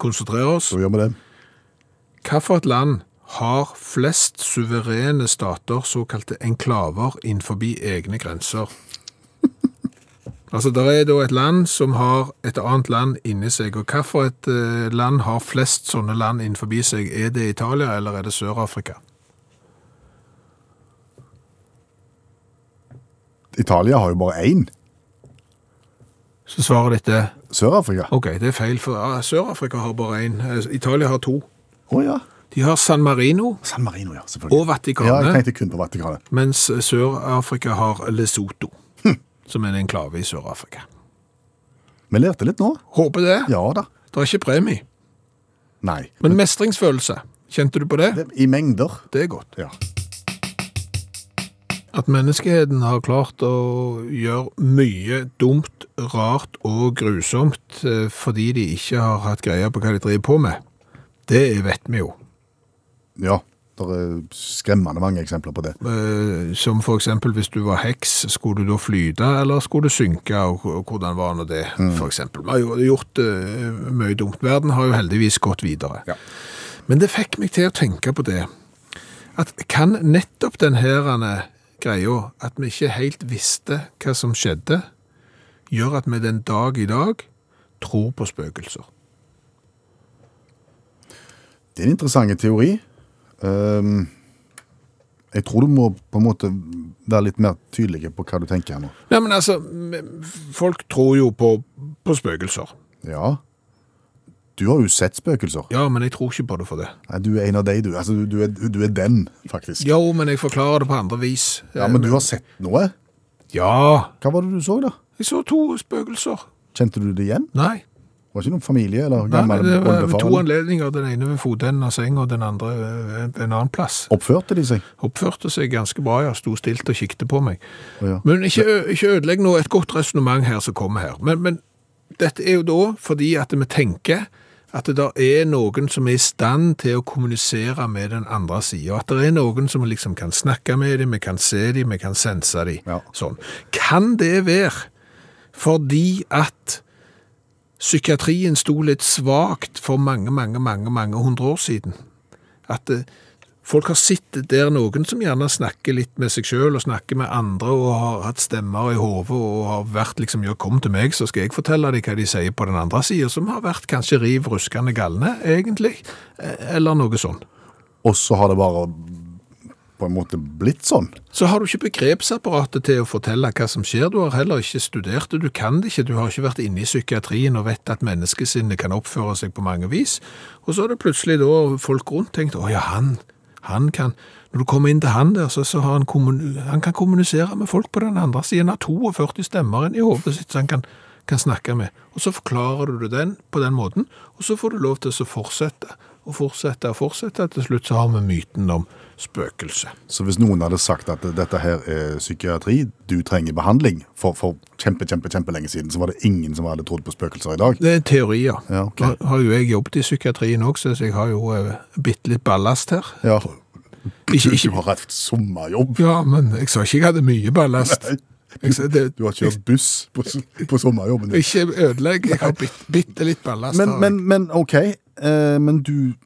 B: konsentrere oss.
C: Så gjør vi det.
B: Hva for et land har flest suverene stater, såkalte enklaver, innenfor egne grenser? Altså, Det er da et land som har et annet land inni seg. Og hva for et eh, land har flest sånne land innenfor seg? Er det Italia, eller er det Sør-Afrika?
C: Italia har jo bare én.
B: Så svaret ditt er
C: Sør-Afrika. Å
B: OK, det er feil, for ah, Sør-Afrika har bare én. Eh, Italia har to.
C: ja.
B: De har San Marino
C: San Marino, ja. Selvfølgelig.
B: og
C: Ja, jeg
B: Vatikanet,
C: tenkte kun på Vatikanet.
B: mens Sør-Afrika har Lesotho, som er en enklave i Sør-Afrika.
C: Vi lærte litt nå.
B: Håper det.
C: Ja da.
B: Det er ikke premie.
C: Nei.
B: Men mestringsfølelse, kjente du på det?
C: Det- I mengder.
B: Det er godt.
C: Ja.
B: At menneskeheten har klart å gjøre mye dumt, rart og grusomt eh, fordi de ikke har hatt greie på hva de driver på med, det vet vi jo.
C: ja. Det er eh, skremmende mange eksempler på det.
B: Eh, Som for eksempel hvis du var heks, skulle du da flyte eller skulle du synke, og og hvordan var nå det, for eksempel. Vi har jo gjort eh, mye dumt. Verden har jo heldigvis gått videre.
C: Ja.
B: Men det fikk meg til å tenke på det, at kan nettopp den herene greia, at vi ikke helt visste hva som skjedde, gjør at vi den dag i dag tror på spøkelser.
C: Det er en interessant teori. Ehm, jeg tror du må på en måte være litt mer tydelig på hva du tenker her nå.
B: Nei, men altså, m- folk tror jo på, på spøkelser.
C: Ja. Du har jo sett spøkelser.
B: Ja, men jeg tror ikke på det for det.
C: Nei, du er en av de, du. Altså, du, du, er, du er den, faktisk.
B: Jo, men jeg forklarer det på andre vis.
C: Ja, Men du har sett noe?
B: Ja,
C: Hva var det du så, da?
B: Jeg så to spøkelser.
C: Kjente du det igjen?
B: Nei.
C: Var ikke noen familie eller
B: Nei,
C: gammel
B: det var ved to
C: oldefar?
B: anledninger. Den ene ved fotenden av senga, den andre ved en annen plass.
C: Oppførte de seg?
B: Oppførte seg ganske bra, ja. Sto stilt og kikte på meg.
C: Å ja.
B: Men ikke, ø- ikke ødelegg nå et godt resonnement her som kommer her. Men, men dette er jo da fordi at vi tenker at det der er noen som er i stand til å kommunisere med den andre siden, og at det er noen som liksom kan snakke med dem, vi kan se dem, vi kan sense dem.
C: Ja.
B: Sånn. Kan det være fordi at psykiatrien sto litt svagt for mange, mange, mange, mange hundre år siden? At eh, folk har sittet der noen som gjerne snakker litt med seg sjøl og snakker med andre og har hatt stemmer i hodet og har vært liksom ja, 'kom til meg, så skal jeg fortelle deg hva de sier på den andre sida', som har vært kanskje riv ruskende galne, egentlig, eh, eller noe sånn.
C: Og så har det bare på en måte blitt sånn.
B: Så har du ikke begrepsapparatet til å fortelle hva som skjer, du har heller ikke studert det, du kan det ikke, du har ikke vært inne i psykiatrien og vet at menneskesinnet kan oppføre seg på mange vis. Og så har det plutselig da folk rundt tenkt, å ja, han, han kan, når du kommer inn til han der, så, så har han, kommun, han kan kommunisere med folk på den andre siden, han har 42 stemmer inn i hovedet sitt, så han kan, kan snakke med. Og så forklarer du det den på den måten, og så får du lov til å fortsette, og fortsette og fortsette, til slutt så har vi myten om spøkelse.
C: Så hvis noen hadde sagt at dette her er psykiatri, du trenger behandling, for, for kjempe, kjempe, kjempelenge siden, så var det ingen som hadde trodd på spøkelser i dag.
B: Det er teorier.
C: Ja, ok.
B: Nå har jo jeg jobbet i psykiatrien også, så jeg har jo eh, bitte litt ballast her.
C: Ja,
B: Ikke,
C: du
B: ikke,
C: har hatt sommerjobb.
B: ja, men jeg sa ikke jeg hadde mye ballast. Jeg sa, det,
C: Du har kjørt buss på, på sommerjobben din.
B: ikke ødelegg, jeg har bitte, bitte litt ballast.
C: Men,
B: har jeg.
C: men, men OK, eh, men du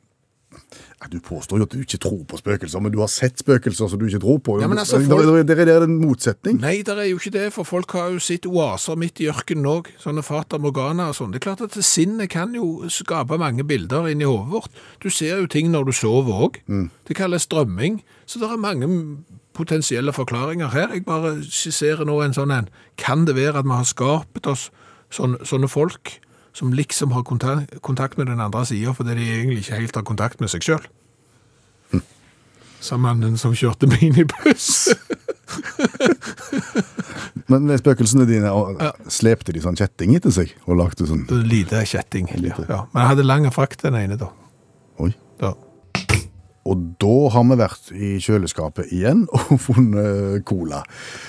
C: ja, du påstår jo at du ikke tror på spøkelser, men du har sett spøkelser som du ikke tror på.
B: Ja, men altså,
C: Det-
B: folk-
C: det- det- det er en motsetning.
B: Nei, det er jo ikke det, for folk har jo sitt oaser midt i ørkenen òg. Sånne Fata Morgana og sånn. Det er klart at sinnet kan jo skape mange bilder inni hodet vårt. Du ser jo ting når du sover òg. Det kalles drømming. Så det er mange potensielle forklaringer her. Jeg bare skisserer nå en sånn en. Kan det være at vi har skapet oss sånne, sånne folk som liksom har kontak- kontakt med den andre sida, fordi de egentlig ikke helt har kontakt med seg sjøl? Sa mannen som kjørte minibuss.
C: Men spøkelsene dine og, slepte de sånn kjetting etter seg og lagde sånn
B: Lite kjetting. Ja. Men jeg hadde lang frakt den ene, da.
C: Oi.
B: da.
C: Og da har vi vært i kjøleskapet igjen og funnet cola.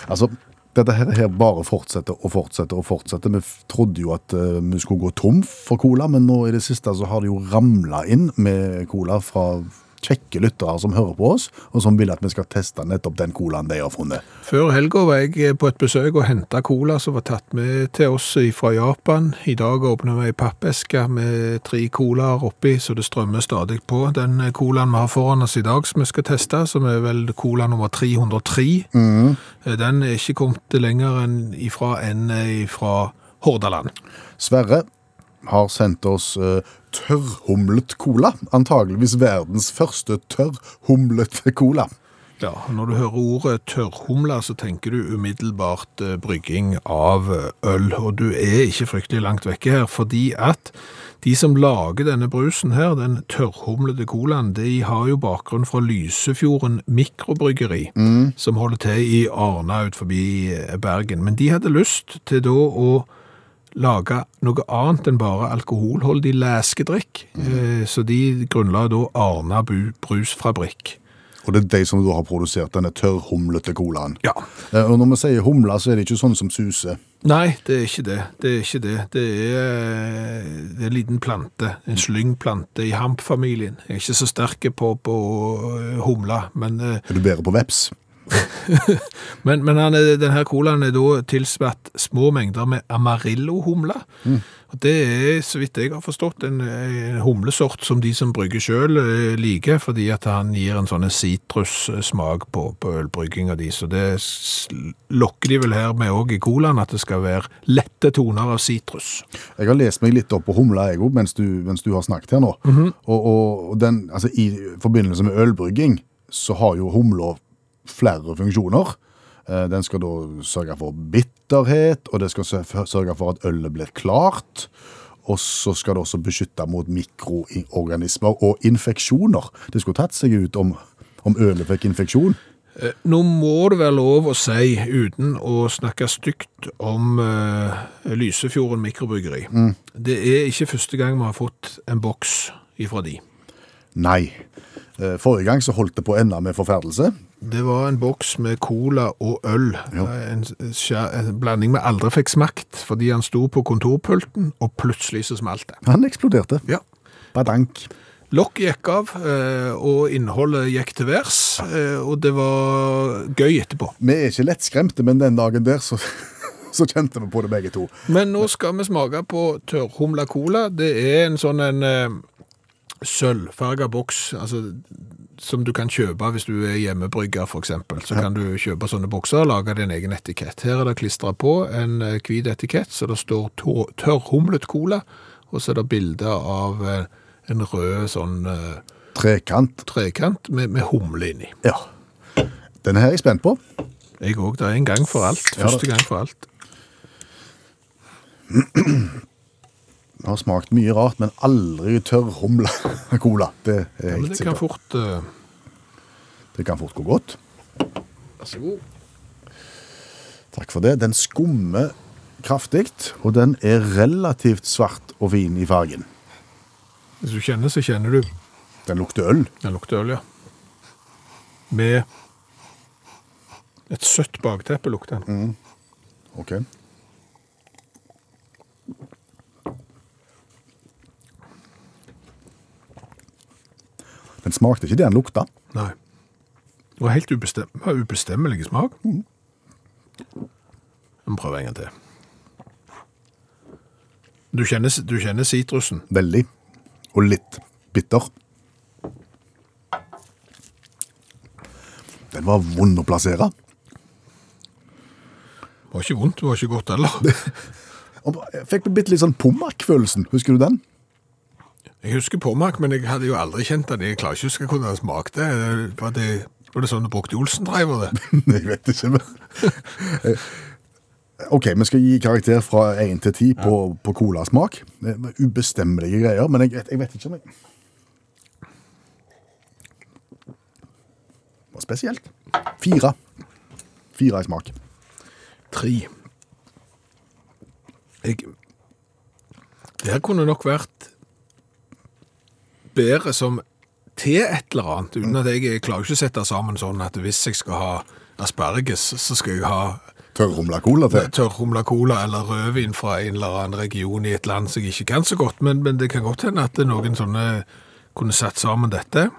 C: Altså, dette her, her bare fortsetter og fortsetter og fortsetter. Vi f- trodde jo at eh, vi skulle gå tom for cola, men nå i det siste så har det jo ramla inn med cola fra kjekke lyttere som hører på oss, og som vil at vi skal teste nettopp den colaen de har funnet.
B: Før helga var jeg eh, på et besøk og henta cola som var tatt med til oss fra Japan. I dag åpner vi ei pappeske med tre colaer oppi, så det strømmer stadig på. Den eh, colaen vi har foran oss i dag som vi skal teste, som er vel cola nummer 303, Eh, den er ikke kommet lenger enn ifra enn ifra Hordaland.
C: Sverre har sendt oss eh, tørrhumlet cola. Antageligvis verdens første tørrhumlete cola.
B: Ja, og når du hører ordet tørrhumle, så tenker du umiddelbart eh, brygging av eh, øl, og du er ikke fryktelig langt vekke her, fordi at de som lager denne brusen her, den tørrhumlede colaen, de har jo bakgrunn fra Lysefjorden mikrobryggeri, som holder til i Arna ut forbi eh, Bergen. Men de hadde lyst til da å lage noe annet enn bare alkoholholdig leskedrikk, eh, så de grunnla da Arna Bu- Brusfabrikk.
C: Og det er de som da har produsert denne tørrhumlete colaen.
B: Ja,
C: Eh, Og når vi sier humle, så er det ikke sånn som suser.
B: Nei, det er ikke det. Det er ikke det. Det er, det er en liten plante, en slyngplante i hampfamilien. Jeg er ikke så sterk på, på øh, humla, men, øh,
C: Er du bedre på veps?
B: men, men han er, denne colaen er da tilsvatt små mengder med amarillo-humla. Og Det er, så vidt jeg har forstått, en, en humlesort som de som brygger sjøl liker, fordi at han gir en sånn sitrussmak på, på ølbrygginga di. Så det s- lokker de vel her med òg i colaen, at det skal være lette toner av sitrus.
C: Jeg har lest meg litt opp på humle jeg òg, mens, du- mens du har snakket her nå. Og, og og den, altså, I forbindelse med ølbrygging så har jo humla flere funksjoner. Eh, Den skal da sørge for bitterhet, og det skal sørf- sørge for at ølet blir klart. Og så skal det også beskytte mot mikroorganismer og infeksjoner. Det skulle tatt seg ut om, om ølet fikk infeksjon.
B: Eh, Nå må det være lov å si, uten å snakke stygt om eh, Lysefjorden mikrobryggeri Det er ikke første gang vi har fått en boks ifra de.
C: Nei. Eh, Forrige gang så holdt det på å ende med forferdelse.
B: Det var en boks med cola og øl. Eh, En, skjæ- en blanding vi aldri fikk smakt, fordi han sto på kontorpulten, og plutselig så smalt det.
C: Han eksploderte.
B: Ja.
C: Badank.
B: Lokket gikk av, eh, og innholdet gikk til værs, eh, og det var gøy etterpå.
C: Vi er ikke lettskremte, men den dagen der så, så kjente vi på det begge to.
B: Men nå skal vi smake på tørrhumla cola. Det er en sånn en eh, sølvfarga boks, altså som du kan kjøpe hvis du er hjemmebrygger f.eks. Så kan du kjøpe sånne bokser og lage din egen etikett. Her er det klistra på en eh, hvit etikett, så det står tå- tørrhumlet cola, og så er det bilde av eh, en rød sånn eh,
C: Trekant.
B: trekant med, med humle inni.
C: Ja. Den her er jeg spent på.
B: Jeg òg. Det er en gang for alt.
C: Ja, da.
B: Første gang for alt.
C: Jeg har smakt mye rart, men aldri tørrhumla cola. Det er
B: Ja, men
C: jeg helt
B: det kan
C: sikker på.
B: fort eh,
C: Det kan fort gå godt.
B: Vær så god.
C: Takk for det. Den skummer kraftig, og den er relativt svart og fin i fargen.
B: Hvis du kjenner, så kjenner du.
C: Den lukter øl.
B: Den lukter øl, ja. Med et søtt bakteppe lukter den.
C: Ok. Den smakte ikke det den lukta.
B: Nei. Og helt ubestem har ubestemmelig smak. Vi må prøve en gang til. Du kjenner, du kjenner sitrusen.
C: Veldig. Og litt bitter. Den var vond å plassere.
B: Det var ikke vondt, det var ikke godt heller.
C: Og jeg fikk bitte litt sånn pommack-følelsen. Husker du den?
B: Jeg husker påmak, men jeg hadde jo aldri kjent den. Jeg klarer ikke å huske hvordan den smakte. Var det, var det sånn du brukte Olsen-driver det?
C: Jeg vet ikke, men Eh, OK, vi skal gi karakter fra 1 til 10 på, på colasmak. Det er Ubestemmelige greier, men jeg, vet- jeg vet ikke om jeg Det var spesielt. Fire. Fire i smak.
B: Tre. Jeg Det her kunne nok vært bedre som til et eller annet, uten at jeg, jeg klarer ikke å sette sammen sånn at hvis jeg skal ha asparges, så skal jeg ha
C: Tørrrumla cola til.
B: tørrhumla cola eller rødvin fra en eller annen region i et land som jeg ikke kan så godt, men, men det kan godt hende at noen sånne kunne satt sammen dette.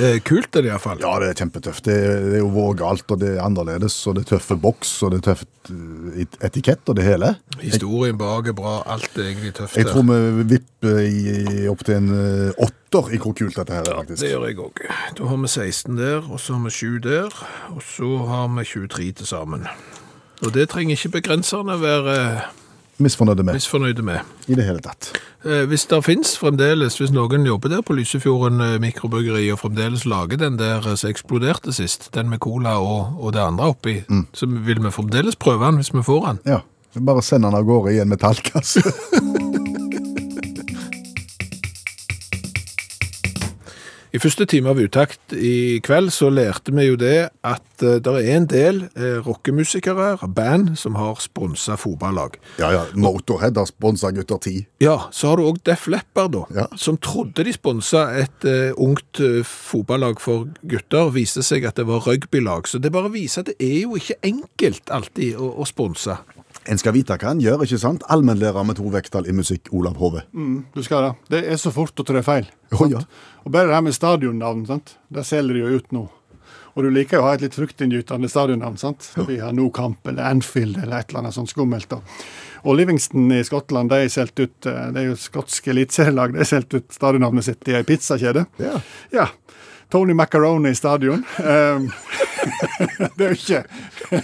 B: Eh, Kult er det iallfall.
C: Mm. Ja, det er kjempetøft. Det er, det er jo vårgalt, og det er annerledes, og det er tøffe boks, og det er tøft eh, et- etikett, og det hele.
B: Historien bak er bra, alt er egentlig tøft.
C: Jeg
B: her.
C: tror vi vipper i, opp til en eh, åtter i hvor kult dette her er, faktisk.
B: Det gjør jeg òg. Da har vi 16 der, og så har vi 7 der, og så har vi 23 til sammen. Og det trenger ikke begrenserne være
C: misfornøyde med
B: misfornøyde med.
C: i det hele tatt.
B: Eh, Hvis det finnes fremdeles, hvis noen jobber der på Lysefjorden eh, mikrobryggeri og fremdeles lager den der eh, som eksploderte sist, den med cola og, og det andre oppi, så vil vi fremdeles prøve den hvis vi får den.
C: Ja, bare send han av gårde i en metallkasse.
B: I første time av Utakt i kveld så lærte vi jo det at eh, det er en del eh, rockemusikere, band, som har sponsa fotballag.
C: ja, ja, Motorhead har sponsa Gutter 10.
B: Ja, så har du òg Def Leppard, da.
C: Ja.
B: Som trodde de sponsa et eh, ungt eh, fotballag for gutter. Viste seg at det var rugbylag. Så det bare viser at det er jo ikke enkelt alltid å, å sponse.
C: En skal vite hva en gjør, ikke sant? Allmennlærer med to vekttall i musikk, Olav Hove.
F: Mm, du skal det. Det er så fort å tre feil.
C: Å,
F: sant?
C: ja.
F: Og bare det her med stadionnavn, sant? det selger de jo ut nå. Og du liker jo å ha et litt fruktinngytende stadionnavn. sant? Vi har Nokamp eller Anfield eller et eller annet sånt skummelt. da. Og Livingston i Skottland de er solgt ut eh, det er jo skotske eliteserielag. De har solgt ut stadionnavnet sitt i ei pizzakjede.
C: Ja.
F: Ja. Tony Macaroni Stadion. Um, det er jo ikke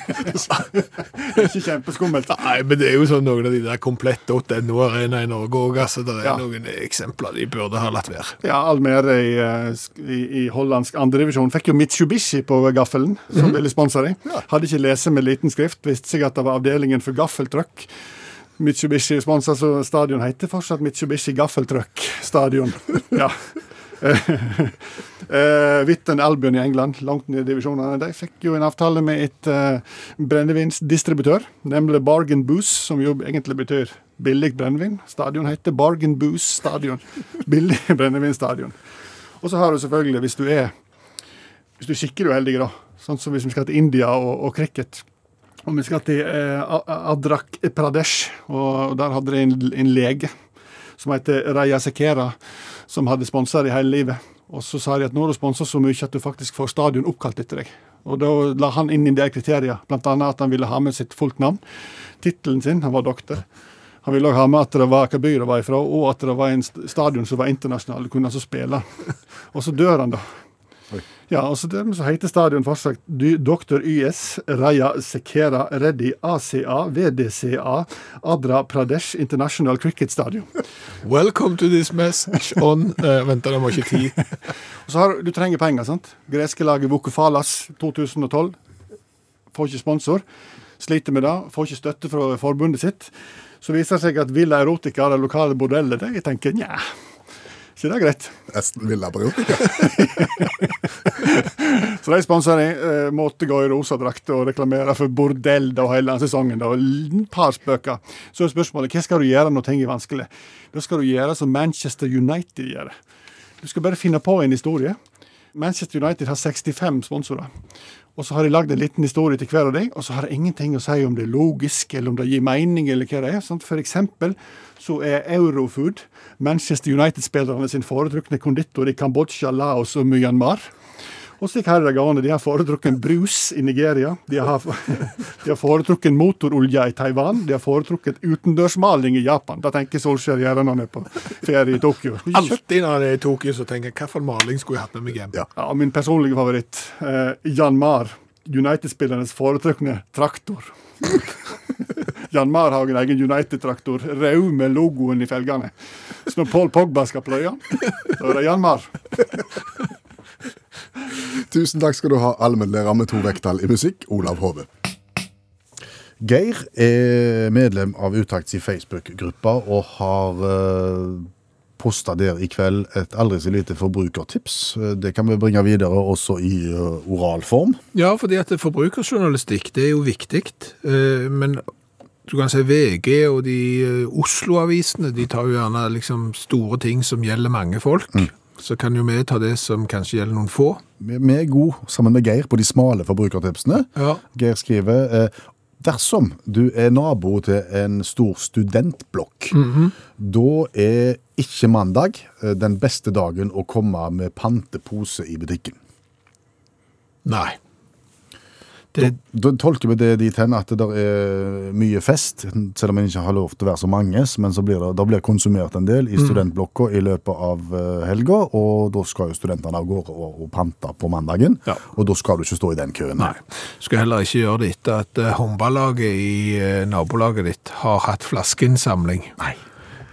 F: Det er ikke kjempeskummelt.
B: Nei, men det er jo sånn noen av de der komplett.no-arena i Norge òg. Altså, det er
F: Ja.
B: noen eksempler de burde ha latt være.
F: Ja, Almere i, eh, sk- i, i hollandsk andredivisjon fikk jo Mitsubishi på gaffelen, som ville sponse dem. Hadde ikke lese med liten skrift, visste seg at det var avdelingen for gaffeltrøkk. Mitsubishi sponsa, så stadion heter fortsatt Mitsubishi Gaffeltrøkk Stadion. Ja. Eh, Witten Albion i England, langt ned i divisjonene, de fikk jo en avtale med et eh, brennevinsdistributør, nemlig Bargain Booze, som jo egentlig betyr billig brennevin. Stadion heter Bargain Booze Stadion. Billig brennevinstadion. Og så har du selvfølgelig, hvis du er hvis du er skikkelig uheldig, da, sånn som hvis vi skal til India og, og cricket Om vi skal til eh, A- A- Adrak Pradesh, og, og der hadde de en, en lege som heter Raya Sekera, som hadde sponsa de hele livet. Og så sa de at nå har du sponsa så mye at du faktisk får stadion oppkalt etter deg. Og da la han inn en del kriterier, bl.a. at han ville ha med sitt fullt navn, tittelen sin, han var doktor. Han ville òg ha med at det var hva by det var ifra, og at det var en st- stadion som var internasjonal, kunne han så spille. Og så dør han, da. Ja, altså dermed så heter stadion fortsatt Dy- Dr. YS, Raya Sekera Reddy ACA, VDCA, Adra Pradesh International Cricket Stadion.
B: Welcome to this message on eh, Vent, det var ikke tid.
F: Og så har du- du trenger penger, sant? Greske laget Vukofalas 2012 får ikke sponsor. Sliter med det, får ikke støtte fra forbundet sitt. Så viser det seg at Villa Erotica, det lokale bordellet, de tenker nja, ikke det er greit.
C: Esten Villa Briotica.
F: Så de sponser eh, måtte gå i rosa drakt og reklamere for bordell da hele sesongen. da, og Et par spøker. Så er spørsmålet hva skal du gjøre når ting er vanskelig? Da skal du gjøre som Manchester United gjør. Du skal bare finne på en historie. Manchester United har 65 sponsorer. Og så har de lagd en liten historie til hver av dem, og så har det ingenting å si om det er logisk, eller om det gir mening, eller hva det er. Sant? For eksempel så er Eurofood Manchester United-spillerne sin foretrukne konditor i Kambodsja, Laos og Myanmar. Og slik her er det gående. De har foretrukket brus i Nigeria. De har, de har foretrukket motorolje i Taiwan. De har foretrukket utendørsmaling i Japan. Det tenker Solskjær gjerne når han er på ferie i Tokyo.
B: Alltid når jeg er i Tokyo, så tenker jeg hvilken maling skulle jeg hatt med meg hjem?
C: Ja.
F: Ja, min personlige favoritt, eh, Jan Mar, United-spillernes foretrukne traktor. Jan Mar har jo en egen United-traktor, rød med logoen i felgene. Så når Paul Pogba skal pløye, da er det Jan Mar.
C: Tusen takk skal du ha, allmennlærer med to vekttall i musikk, Olav Hove. Geir er medlem av Utakts i Facebook-gruppa og har eh, posta der i kveld et aldri så lite forbrukertips. Eh, Det kan vi bringe videre også i eh, oralform.
B: Ja, fordi at forbrukerjournalistikk, det er jo viktig, eh, men du kan si VG og de eh, Oslo-avisene, de tar jo gjerne liksom store ting som gjelder mange folk. Så kan jo vi ta det som kanskje gjelder noen få.
C: Vi vi er gode sammen med Geir på de smale forbrukertipsene.
B: Ja.
C: Geir skriver eh, Dersom du er nabo til en stor studentblokk,
B: Mhm.
C: da er ikke mandag eh, den beste dagen å komme med pantepose i butikken.
B: Nei. Det,
C: Da tolker vi det dit hen at det der er mye fest, selv om en ikke har lov til å være så mange, men så blir det, da blir det konsumert en del
B: Mhm.
C: i studentblokka i løpet av eh, helga, og da skal jo studentene av gårde og, og pante på mandagen,
B: Ja.
C: og da skal du ikke stå i den køen.
B: nei. Skal heller ikke gjøre det etter at eh, håndballaget i eh, nabolaget ditt har hatt flaskeinnsamling. Nei.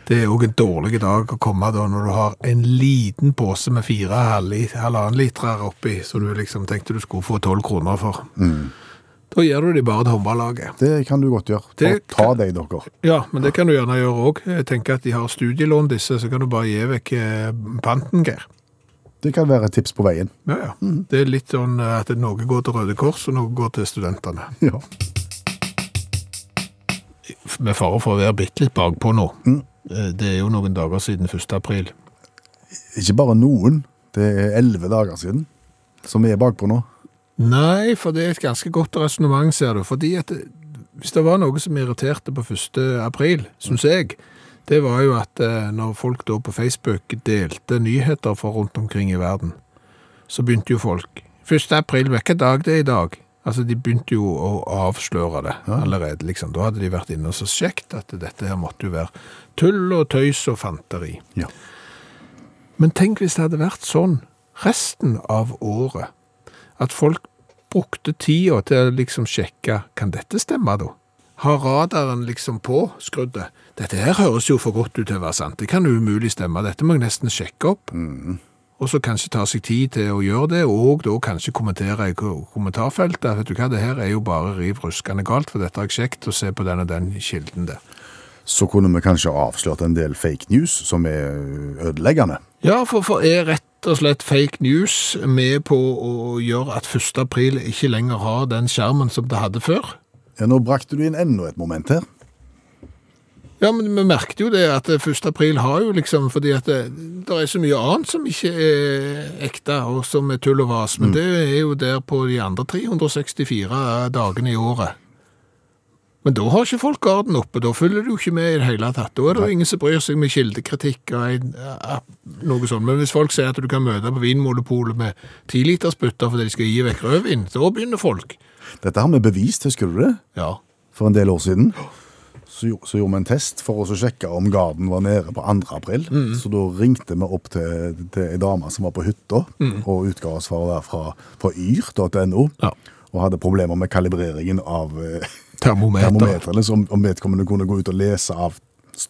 B: Det er òg en dårlig dag å komme da når du har en liten pose med fire halv- halvannen liter oppi, som du liksom tenkte du skulle få tolv kroner for. Da gir du de bare til håndballaget.
C: Det kan du godt gjøre. Ta,
B: Det
C: ta
B: kan-
C: deg, dere.
B: Ja, men det kan du gjerne gjøre òg. Tenker at de har studielån, disse, så kan du bare gi vekk eh, panten, Geir.
C: Det kan være et tips på veien.
B: Ja, ja. Det er litt sånn eh, at noe går til Røde Kors, og noe går til studentene.
C: Ja.
B: med fare for å være bitte litt bakpå nå. Eh, Det er jo noen dager siden 1. april.
C: Ikke bare noen. Det er elleve dager siden, som vi er bakpå nå.
B: Nei, for det er et ganske godt resonnement, ser du. Fordi at det- hvis det var noe som irriterte på 1. april, syns jeg, det var jo at eh, når folk da på Facebook delte nyheter fra rundt omkring i verden, så begynte jo folk 1. april, hvilken dag det er i dag? Altså, de begynte jo å avsløre det allerede, liksom. Da hadde de vært inne og så sjekket at dette her måtte jo være tull og tøys og fanteri.
C: Ja.
B: Men tenk hvis det hadde vært sånn resten av året, at folk brukte tida til å liksom sjekke, kan dette stemme da? Har radaren liksom på skruddet? Dette her høres jo for godt ut til å være sant, det kan jo umulig stemme, dette må jeg nesten sjekke opp. Og så kanskje ta seg tid til å gjøre det, og da kanskje kommentere i ko- kommentarfeltet, vet du hva, det her er jo bare riv ruskende galt, for dette har jeg sjekt, og se på den og den kilden der.
C: Så kunne vi kanskje avslørt en del fake news som er ødeleggende.
B: Ja, for, for er rett rett og slett fake news med på å gjøre at 1. april ikke lenger har den skjermen som det hadde før.
C: Ja, nå brakte du inn enda et moment her.
B: Ja, men vi merket jo det at 1. april har jo liksom, fordi at det, det er så mye annet som ikke er ekte, og som er tull og vas, men det er jo der på de andre 364 dagene i året. Men da har ikke folk garden oppe, da følger du jo ikke med i det hele tatt. Da er det jo ingen som bryr seg med kildekritikk og en, ja, noe sånt. Men hvis folk sier at du kan møte på vinmonopolet med 10 liters butter fordi de skal gi vekk rødvin, da begynner folk.
C: Dette har vi bevist, husker du det?
B: Ja,
C: For en del år siden. Så, gjo- så gjorde vi en test for oss å sjekke om garden var nede på 2. april.
B: Mm.
C: Så da ringte vi opp til, til ei dame som var på hytta, og utga oss for å være fra, fra yr.no.
B: Mm. Ja.
C: Og hadde problemer med kalibreringen av eh,
B: termometer.
C: termometrene, så om, om vedkommende kunne gå ut og lese av s-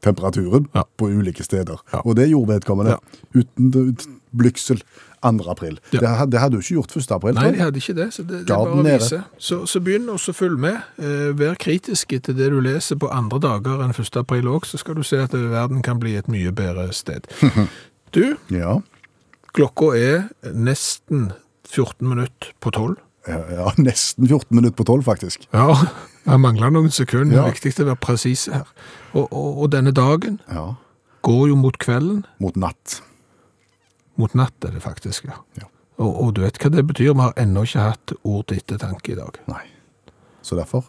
C: temperaturen
B: Ja.
C: på ulike steder.
B: Ja.
C: Og det gjorde vedkommende.
B: Ja.
C: Uten ut, blygsel 2. april.
B: Ja.
C: Det, had- det hadde jo ikke gjort 1. april.
B: Nei,
C: tror
B: de
C: jeg.
B: hadde ikke det, så det, det er
C: Garden
B: bare å
C: nede.
B: vise. Så, så begynn også å følge med. Eh, vær kritisk til det du leser på andre dager enn 1. april òg, så skal du se at eh, verden kan bli et mye bedre sted. Du,
C: Ja,
B: klokka er nesten 14 minutter på 12.
C: ja, ja, nesten 14 minutter på 12 faktisk.
B: Ja, jeg mangler noen sekunder.
C: Ja.
B: Viktig å være presis her. Og, og, og denne dagen
C: Ja,
B: går jo mot kvelden.
C: mot natt.
B: Mot natt er det faktisk, ja.
C: Ja.
B: Og, og du vet hva det betyr. Vi har ennå ikke hatt ord til ettertanke i dag.
C: Nei. Så derfor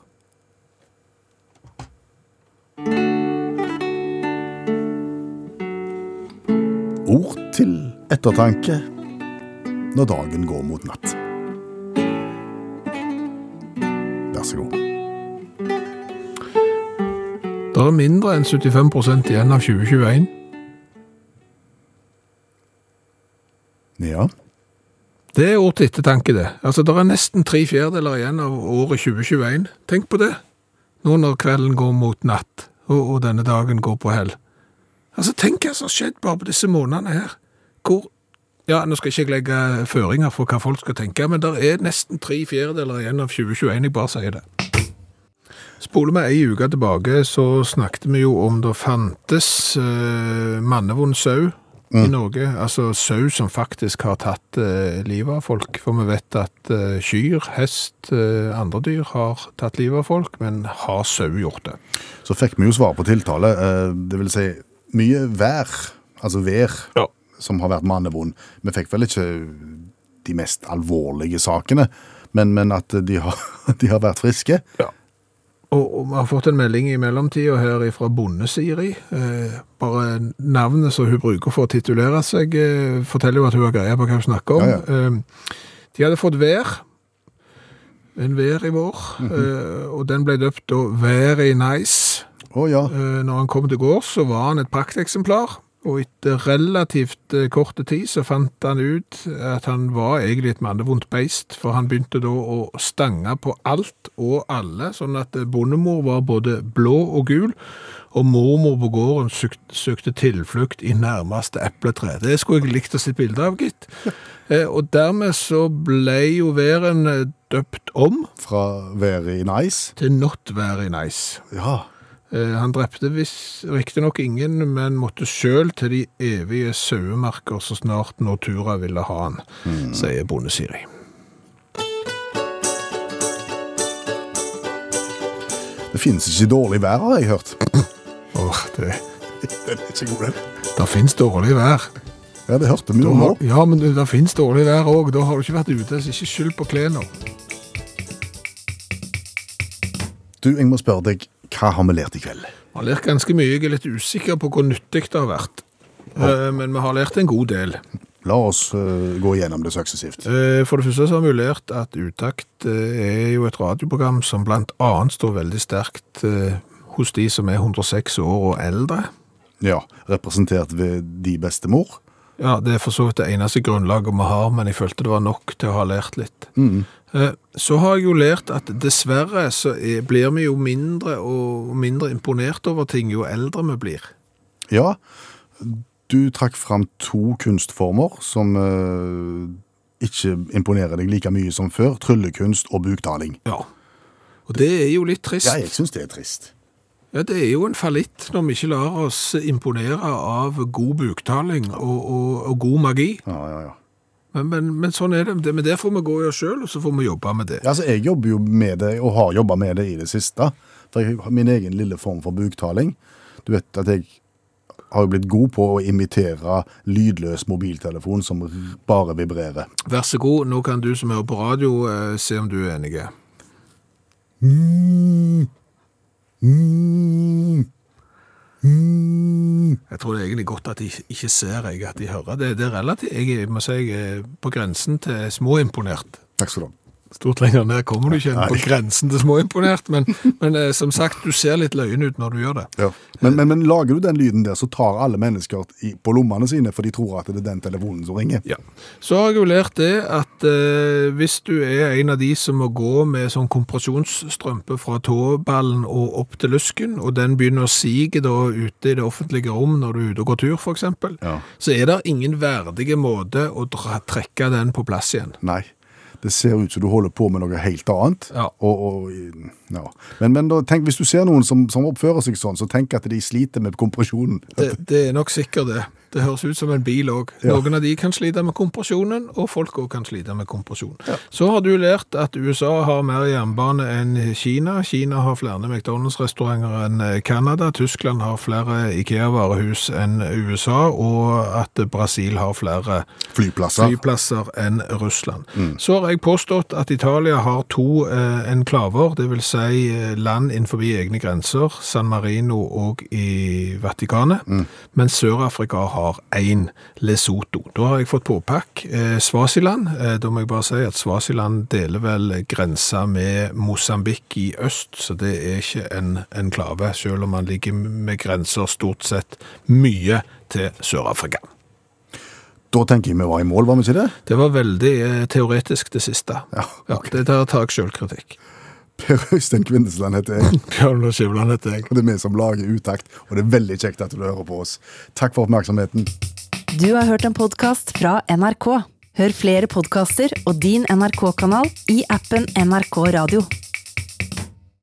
C: Ord til ettertanke når dagen går mot natt. Vær så god.
B: Det er mindre enn 75 igjen av 2021.
C: Ja.
B: Det er ord til ettertanke, det. Altså, Det er nesten tre fjerdedeler igjen av året 2021. Tenk på det. Nå når kvelden går mot natt, og, og denne dagen går på hell. Altså, Tenk hva som har skjedd bare på disse månedene her. Hvor Ja, nå skal ikke jeg legge føringer for hva folk skal tenke, men det er nesten tre fjerdedeler igjen av 2021. Jeg bare sier det. Spoler vi ei uke tilbake, så snakket vi jo om det fantes eh, mannevond sau i Norge. Altså sau som faktisk har tatt eh, livet av folk. For vi vet at eh, kyr, hest, eh, andre dyr har tatt livet av folk, men har sau gjort det?
C: Så fikk vi jo svar på tiltale. eh, Det vil si mye vær, altså vær,
B: Ja.
C: som har vært mannevond. Vi fikk vel ikke de mest alvorlige sakene, men, men at de har, de har vært friske.
B: Og, og vi har fått en melding i mellomtida her fra Bonde-Siri. Eh, bare navnet som hun bruker for å titulere seg, eh, forteller jo at hun har greie på hva hun snakker om.
C: Ja,
B: Eh, de hadde fått vær. En vær i vår.
C: Mhm.
B: eh, og den ble døpt da Very Nice.
C: Å ja.
B: Eh, Når han kom til gård, så var han et prakteksemplar, og etter relativt eh, korte tid så fant han ut at han var egentlig et mannevondt beist, for han begynte da å stange på alt og alle, sånn at eh, bondemor var både blå og gul, og mormor på gården søkte, søkte tilflukt i nærmeste epletre. Det skulle jeg likt å se et bilde av, gitt. Eh, Og dermed så ble jo væren eh, døpt om
C: Fra Very Nice.
B: til Not Very Nice.
C: Ja.
B: Eh, Han drepte vis- riktignok ingen, men måtte sjøl til de evige sauemarker så snart Nortura ville ha han, sier bonde Siri.
C: Det finnes ikke dårlig vær, har jeg hørt.
B: Åh, det,
C: Den er ikke god, den.
B: det fins dårlig vær.
C: Ja, det hørte vi
B: Da
C: jo nå.
B: har, ja, men det fins dårlig vær òg. Da har du ikke vært ute, så ikke skyld på klærne.
C: Du, jeg må spørre deg, hva har vi lært i kveld?
B: Vi har lært ganske mye. Jeg er litt usikker på hvor nyttig det har vært. Eh, Men vi har lært en god del.
C: La oss eh, gå gjennom det suksessivt.
B: Eh, For det første så har vi jo lært at Utakt eh, er jo et radioprogram som blant annet står veldig sterkt eh, hos de som er 106 år og eldre.
C: Ja, representert ved de bestemor.
B: Ja, det er for så vidt det eneste grunnlaget vi har, men jeg følte det var nok til å ha lært litt. Eh, Så har jeg jo lært at dessverre så er- blir vi jo mindre og mindre imponert over ting jo eldre vi blir.
C: Ja, du trakk fram to kunstformer som eh, ikke imponerer deg like mye som før. Tryllekunst og buktaling.
B: Ja. Og det er jo litt trist.
C: Ja, jeg syns det er trist.
B: Ja, Det er jo en fallitt når vi ikke lar oss imponere av god buktaling og, og, og god magi.
C: Ja, ja, ja.
B: Men, men, men sånn er det. Det- Men der får vi gå i oss sjøl, og så får vi jobbe med det.
C: Ja, Altså, jeg jobber jo med det, og har jobba med det i det siste. For jeg har min egen lille form for buktaling. Du vet at jeg har jo blitt god på å imitere lydløs mobiltelefon som r- bare vibrerer.
B: Vær så god, nå kan du som hører på radio, eh, se om du er enig. Jeg tror det er egentlig godt at de ikke ser jeg, at de hører. Det, det er relativt. Jeg må si jeg er på grensen til småimponert.
C: Takk skal du ha.
B: Stort lenger ned kommer du ikke enn på grensen til småimponert, men, men eh, som sagt, du ser litt løyen ut når du gjør det.
C: Men, men, men lager du den lyden der, så tar alle mennesker i, på lommene sine, for de tror at det er den telefonen som ringer.
B: Ja. Så har jeg jo lært det at eh, hvis du er en av de som må gå med sånn kompresjonsstrømpe fra tåballen og opp til lusken, og den begynner å sige da ute i det offentlige rom når du er ute og går tur for eksempel,
C: Ja.
B: så er det ingen verdige måte å dra, trekke den på plass igjen.
C: Nei. Det ser ut som du holder på med noe helt annet.
B: Ja.
C: Og, og, ja. Men, men da, tenk, hvis du ser noen som, som oppfører seg sånn, så tenk at de sliter med kompresjonen.
B: Det, det er nok sikkert det. Det høres ut som en bil òg.
C: Ja.
B: Noen av de kan slite med kompresjonen, og folk òg kan slite med kompresjon. Så har du lært at USA har mer jernbane enn Kina. Kina har flere McDonald's-restauranter enn eh, Canada. Tyskland har flere Ikea-varehus enn USA, og at Brasil har flere
C: Flyplasser.
B: flyplasser enn Russland. Så har jeg påstått at Italia har to eh, enklaver, det vil si eh, land innenfor egne grenser, San Marino og i Vatikanet, mens Sør-Afrika har én, Lesotho. Da har jeg fått påpakk eh, Svasiland. Eh, da må jeg bare si at Svasiland deler vel grensa med Mosambik i øst, så det er ikke en enklave, selv om man ligger med grenser stort sett mye til Sør-Afrika.
C: Da tenker jeg vi var i mål, var vi ikke det?
B: Det var veldig eh, teoretisk, det siste.
C: Ja,
B: det der tar jeg sjølkritikk.
C: Per Øystein Kvindesland heter jeg,
B: Bjørn og Skivland heter jeg.
C: og det er vi som lager Utakt, og det er veldig kjekt at du hører på oss. Takk for oppmerksomheten.
A: Du har hørt en podkast fra NRK. Hør flere podkaster og din NRK-kanal i appen NRK Radio.